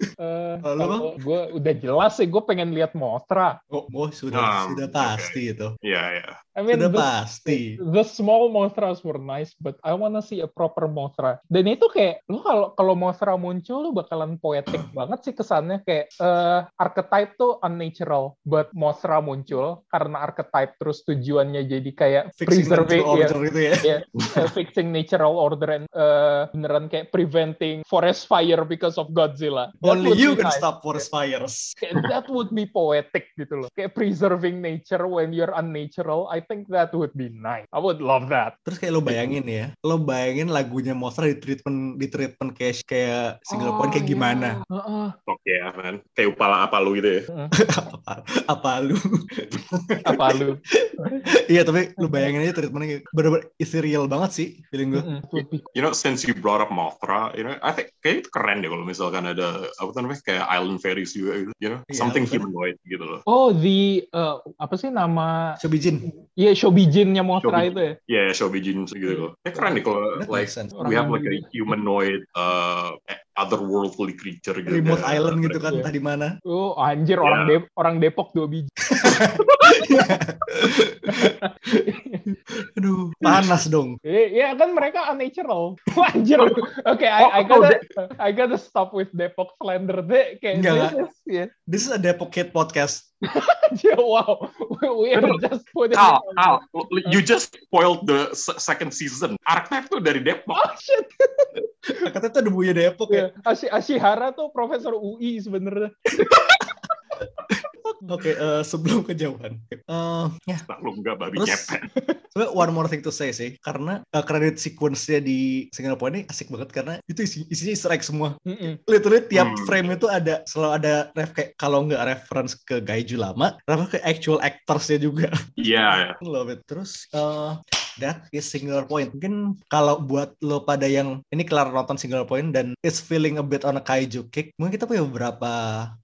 Kalau lu, Bang?
gue Eh, udah jelas sih, gue pengen lihat Mothra.
Oh, oh, sudah,
Um,
sudah pasti itu.
Iya, iya.
I mean,
sudah
the,
pasti.
the small Mothras were nice, but I wanna see a proper Mothra. Dan itu kayak, lu kalau kalau Mothra muncul, lu bakalan poetic banget sih kesannya. Kayak, eh archetype tuh unnatural, but Mothra muncul karena archetype, terus tujuannya jadi kayak
Fixing
preserving,
natural
ya,
order gitu ya.
Yeah, uh, fixing natural order and uh, beneran kayak preventing forest fire because of Godzilla. That
Only
would
you
be
can
nice.
stop forest
ya.
fires.
Kayak that would be poetic gitu loh. Kayak preserving nature when you're unnatural. I think that would be nice. I would love that.
Terus kayak
Iya.
lo bayangin ya, lo bayangin lagunya Monster di treatment di treatment kayak kayak single point
Oh,
kayak gimana?
Heeh.
Fuck yeah, ya, man. Kayak upala apa lu gitu ya.
apa, apa lu?
iya. Apa lu?
Iya tapi lo bayangin aja treatmentnya kayak bener-bener isi real banget sih feeling gue.
Mm-mm. Would be-
You know, since you brought up Mothra, you know, I think kayak itu keren deh kalau misalkan ada apa namanya kayak island fairies juga gitu, you know,
Iya,
something
bener.
humanoid gitu loh.
Oh, the uh, apa sih nama?
Sobijin,
Iya, Shobijinnya Mothra
Shobijin.
itu ya.
Ya, yeah, Shobijin gitu loh. Ya keren deh kalau
that
like
makes sense.
we have like a humanoid uh otherworldly creature gitu.
Remote
Yeah.
island gitu kan,
Iya.
entah di mana.
Oh, anjir orang Dep- orang Depok dua biji.
Aduh, panas dong.
Eh, Ya kan mereka unnatural. Anjir. Oke, I, I
Oh, oh,
gotta I gotta stop with Depok slander deh. Kayak
Enggak,
this
enggak.
is- ya.
This is a Depok Kid podcast.
Anjir, wow. We, we are just putting
Al,
it on-
Al, you just spoiled the se- second season. Arknef tuh dari Depok.
Oh shit.
Nah, Katanya itu ada buaya Depok ya.
Iya, Ashi Ashihara tuh profesor UI sebenarnya.
Oke, eh, sebelum kejauhan. Eh, ya,
Nah, lu enggak babi
Terus-
ngepet.
sebenarnya one more thing to say sih, karena kredit sequence-nya di Singapore ini asik banget karena itu isi- isinya easter egg semua.
Mm-mm.
Literally tiap
Hmm.
frame itu ada selalu ada ref kayak kalau nggak reference ke Gaiju lama, reference ke actual actors-nya juga.
Iya,
Love it. Terus eh, that is singular point. Mungkin kalau buat lo pada yang ini kelar nonton singular point dan is feeling a bit on a kaiju kick, mungkin kita punya beberapa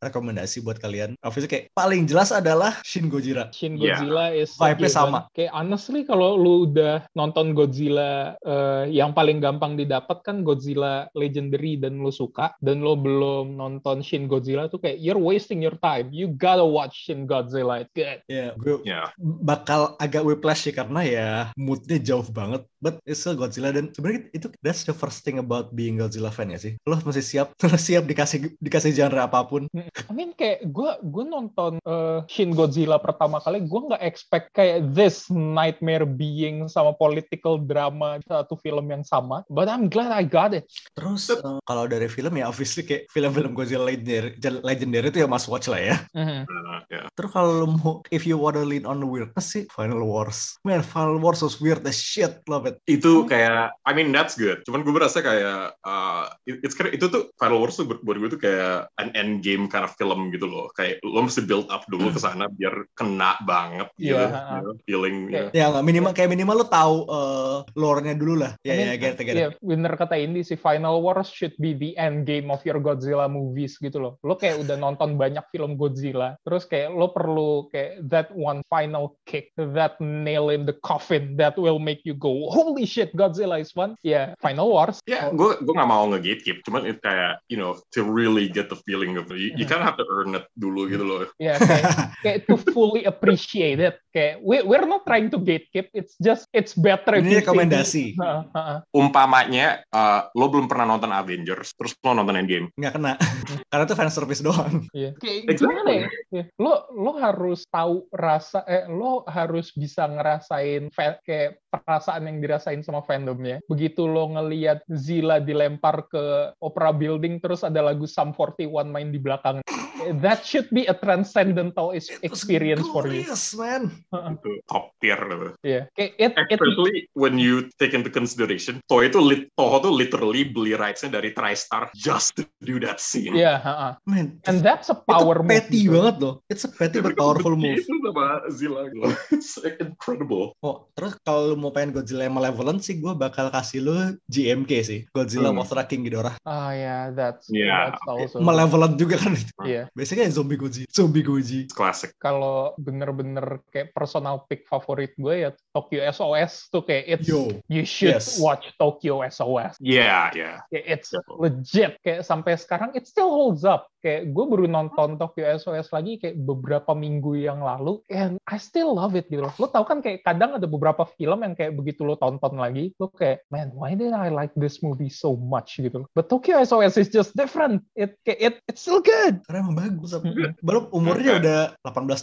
rekomendasi buat kalian. Obviously kayak paling jelas adalah Shin Gojira.
Shin
Iya.
Godzilla is a
Vibe-nya
given.
sama.
Kayak honestly kalau lu udah nonton Godzilla eh, yang paling gampang didapat kan Godzilla Legendary dan lu suka dan lu belum nonton Shin Godzilla tuh kayak you're wasting your time. You gotta watch Shin Godzilla. It's good.
Ya, gue
iya.
bakal agak whiplash sih karena ya mood moodnya jauh banget but it's still Godzilla dan sebenarnya itu that's the first thing about being Godzilla fan ya sih lo mesti siap lo siap dikasih dikasih genre apapun
I mean kayak gue gue nonton eh, Shin Godzilla pertama kali gue nggak expect kayak this nightmare being sama political drama satu film yang sama but I'm glad I got it
terus eh, kalau dari film ya obviously kayak film-film Godzilla legendary, legendary itu ya must watch lah ya
Uh, ya.
Terus kalau lu mau, if you wanna lean on the weirdness sih, Final Wars. Man, Final Wars was weird as shit, love it.
Oh.
itu kayak I mean that's good cuman gue berasa kayak uh, it- it's kind itu tuh Final Wars tuh buat buat gue tuh kayak an end game kind of film gitu loh kayak lo mesti build up dulu ke sana biar kena banget gitu
Iya,
you
ha-ha.
know, feeling
Kayak-
Ya nggak minimal kayak minimal lu tahu eh, lore-nya dulu lah. Ya
I mean,
ya gitu gitu.
Iya, winner kata ini sih Final Wars should be the end game of your Godzilla movies gitu loh. Lo kayak udah nonton banyak film Godzilla, terus kayak lo perlu kayak that one final kick, that nail in the coffin that will make you go holy shit Godzilla is fun. Ya, Final Wars.
Ya, gue gue nggak mau nge-gatekeep, cuman itu kayak you know to really get the feeling of
Iya.
you, you kind of have to earn it dulu gitu loh.
Ya, kayak, kayak to fully appreciate it. Kayak we, we're not trying to gatekeep, it's just it's better. if
Ini
you say-
rekomendasi.
Heeh, heeh.
Umpamanya uh, lo belum pernah nonton Avengers, terus lo nonton Endgame.
Nggak kena.
Mm-hmm.
Karena itu fan service doang.
Iya. Kayak
Exactly.
gimana ya? Iya. Lo lo harus tahu rasa eh lo harus bisa ngerasain fa- kayak perasaan yang dirasain sama fandomnya. Begitu lo ngelihat Zilla dilempar ke opera building terus ada lagu Sum 41 main di belakang. Eh, That should be a transcendental is- experience for you.
Glorious, man.
Itu top tier gitu.
Iya. Kayak it, it
Especially when you take into consideration, Toho itu lit, Toho tuh literally beli rights-nya dari TriStar just to do that scene.
Iya, heeh.
Man.
And that's a
Itu
power move.
petty
gitu.
banget loh. It's a petty but powerful move.
Itu sama Zilla gitu. It's incredible.
Oh, terus kalau lu mau pengen Godzilla yang malevolent sih, gue bakal kasih lu GMK sih. Godzilla
Hmm.
Mothra King Ghidorah.
Ah ya, that's
Iya.
that's also.
Malevolent juga kan.
Iya.
Biasanya zombie Godzilla. Zombie Godzilla.
It's classic.
kalau bener-bener kayak personal pick favorit gue ya Tokyo SOS tuh kayak it's
Yo.
you should
yes.
watch Tokyo SOS.
Yeah, yeah.
Kayak it's
Yo.
legit kayak sampai sekarang it still holds up. Kayak gue baru nonton Tokyo SOS lagi kayak beberapa minggu yang lalu and I still love it gitu loh. Lo tau kan kayak kadang ada beberapa film yang kayak begitu lo tonton lagi lo kayak man why did I like this movie so much gitu loh. But Tokyo SOS is just different. It kayak it it's still good.
Karena emang bagus. apa.
Mm-mm.
Belum
Nah,
umurnya
kan.
udah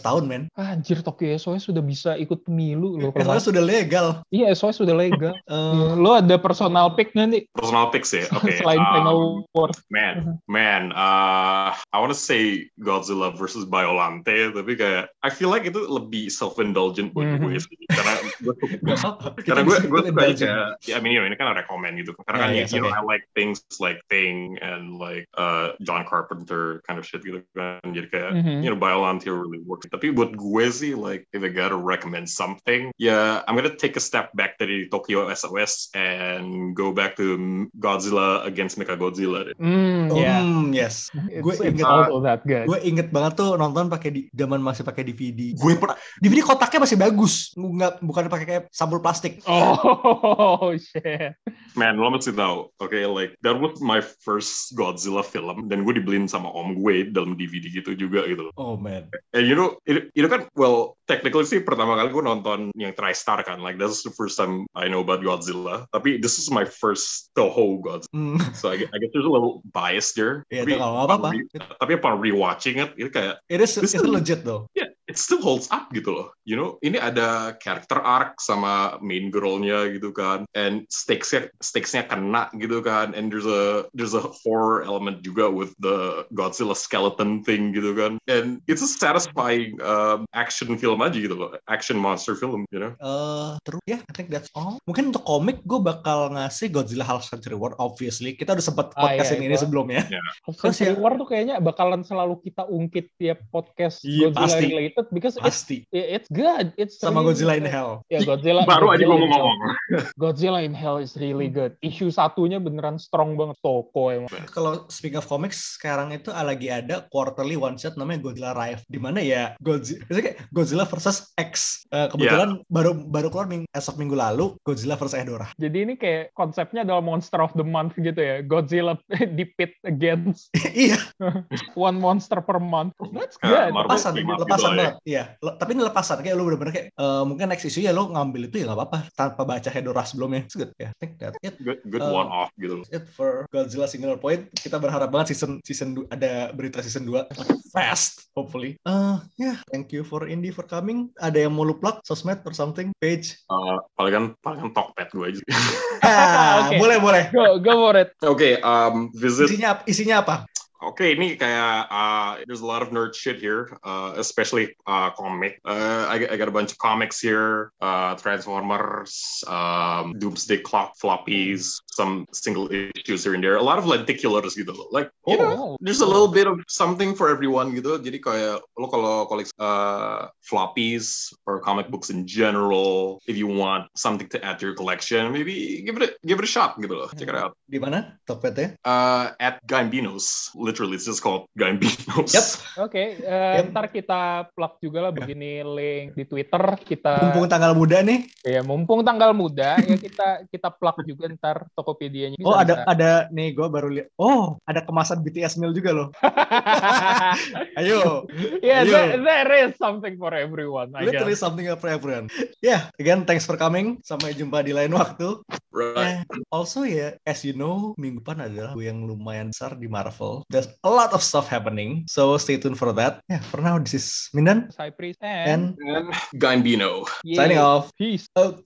18 tahun, men.
Ah, Anjir Tokyo SOS sudah bisa ikut pemilu loh. kalau nggak
Karena sudah legal.
Iya, SOS sudah legal.
Eh,
Lo ada personal pick nggak nih
Personal picks ya. Oke.
selain
um,
Final War?
Uh-huh.
Man, man, uh, I want to say Godzilla versus Biolante, tapi kayak I feel like itu lebih self-indulgent buat
Mhm.
Mm-hmm.
gue sih, karena gue
Iya.
suka-
nggak apa-apa. Kita
karena gue
bisa
gue
ikut
suka
indulgent.
kayak, ya, I mean, you know, ini kan rekomend gitu, karena kan
Yeah,
you,
yes,
you know
okay.
I like things like Thing and like uh, John Carpenter kind of shit gitu kan, jadi kayak
Mhm.
Mm-hmm.
you know Biolante really works. Tapi buat gue sih like if I gotta recommend something, yeah, I'm gonna take a step back dari Tokyo SOS and go back to Godzilla against Mechagodzilla.
Hmm,
Hmm,
ya.
yes. Gue
It's, it's
inget,
also that good.
gue inget banget tuh nonton pakai di zaman masih pakai DVD.
Gue pernah
DVD kotaknya masih bagus, nggak bukan pakai kayak sampul plastik.
Oh, shit.
Man, lo mesti tahu, oke, like that was my first Godzilla film, dan gue dibeliin sama om gue dalam DVD gitu juga gitu.
Oh man.
And Eh, you know, itu itu kan, well, technically sih pertama kali gue nonton yang TriStar kan, like that's the first time I know about Godzilla. Tapi this is my first Toho Godzilla,
Hmm,
so I, gue- I guess there's a little bias there.
ya
tapi,
itu kalau nggak apa-apa.
tapi upon rewatching it, itu kayak
It is,
This
it's
is-
legit though.
yeah, it still holds up gitu loh. You know, ini ada character arc sama main girl-nya gitu kan, and stakes-nya stakes-nya kena gitu kan, and there's a there's a horror element juga with the Godzilla skeleton thing gitu kan, and it's a satisfying um, action film aja gitu loh, action monster film, you know.
Eh, terus ya, I think that's all. Mungkin untuk komik, gue bakal ngasih Godzilla Half Century War. Obviously, kita udah sempat
Ah,
podcastin
iya,
ini
gua-
sebelumnya. Terus
Century
ya-
War tuh kayaknya bakalan selalu kita ungkit tiap podcast
Iya,
Godzilla
pasti.
related because it's
Pasti.
it's good. It's
Sama
really
Godzilla in
good.
Hell.
Ya, Godzilla.
Baru aja gue
Godzilla
mau
in Hell-
ngomong.
Godzilla in Hell is really good. Issue satunya beneran strong banget. Toko emang.
Kalau speaking of comics, sekarang itu lagi ada quarterly one shot namanya Godzilla Rife. Di mana ya Godzilla, kayak Godzilla versus X. Eh, kebetulan baru baru keluar ming, esok minggu lalu Godzilla versus Edora.
Jadi ini kayak konsepnya adalah Monster of the Month gitu ya. Godzilla di pit against
iya,
one monster per month. That's
Kayak
good.
Nah, Marvel
lepasan,
team up
lepasan
gitu lah
banget. Iya. Le- Tapi ini lepasan kayak lu bener-bener kayak eh, mungkin next issue ya lu ngambil itu ya nggak apa-apa tanpa baca head or Rush sebelumnya. It's good. Yeah, I think that it
Good, good
Eh,
one off gitu.
that's it for Godzilla Singular Point. Kita berharap banget season season du- ada berita season 2 fast hopefully. Eh yeah, thank you for Indie for coming. Ada yang mau lu plug sosmed or something page?
Eh, palingan palingan Tokped gue aja.
Ah,
Oke.
boleh boleh.
Go, go for it.
Oke, um, visit
Isinya ap- isinya apa?
Okay, ini kayak uh, there's a lot of nerd shit here, uh, especially uh, comic. Uh, I, I got a bunch of comics here, uh, Transformers, um, Doomsday Clock floppies, some single issues here and there. A lot of lenticulars gitu loh. Like, you
Oh,
know, there's a little bit of something for everyone gitu. Jadi kayak lo kalau koleksi uh, floppies or comic books in general, if you want something to add to your collection, maybe give it a, give it a shot gitu loh. Check it out.
Di mana? ya?
Eh,
Tokpednya?
Uh, at Gambino's. Literally, it's just called Gambino's.
Yep.
Oke, eh,
Yep.
ntar kita plug juga lah begini link di Twitter kita.
Ya. Mumpung tanggal muda nih.
Ya, mumpung tanggal muda ya kita kita plug juga ntar Tokopedia-nya. Bisa,
oh ada
bisa.
ada nih gue baru lihat. Oh ada kemasan BTS meal juga loh. Ayo,
yeah,
Ayo.
there, there is something for everyone, I guess.
literally something for everyone. Yeah, again thanks for coming. Sampai jumpa di lain waktu.
Right.
Also ya, as you know, minggu depan adalah gue yang lumayan besar di Marvel. There's a lot of stuff happening, so stay tuned for that. Yeah, for now this is Mindan
Cypress
and
and,
And Gambino.
Yeah.
signing off.
peace.
Out.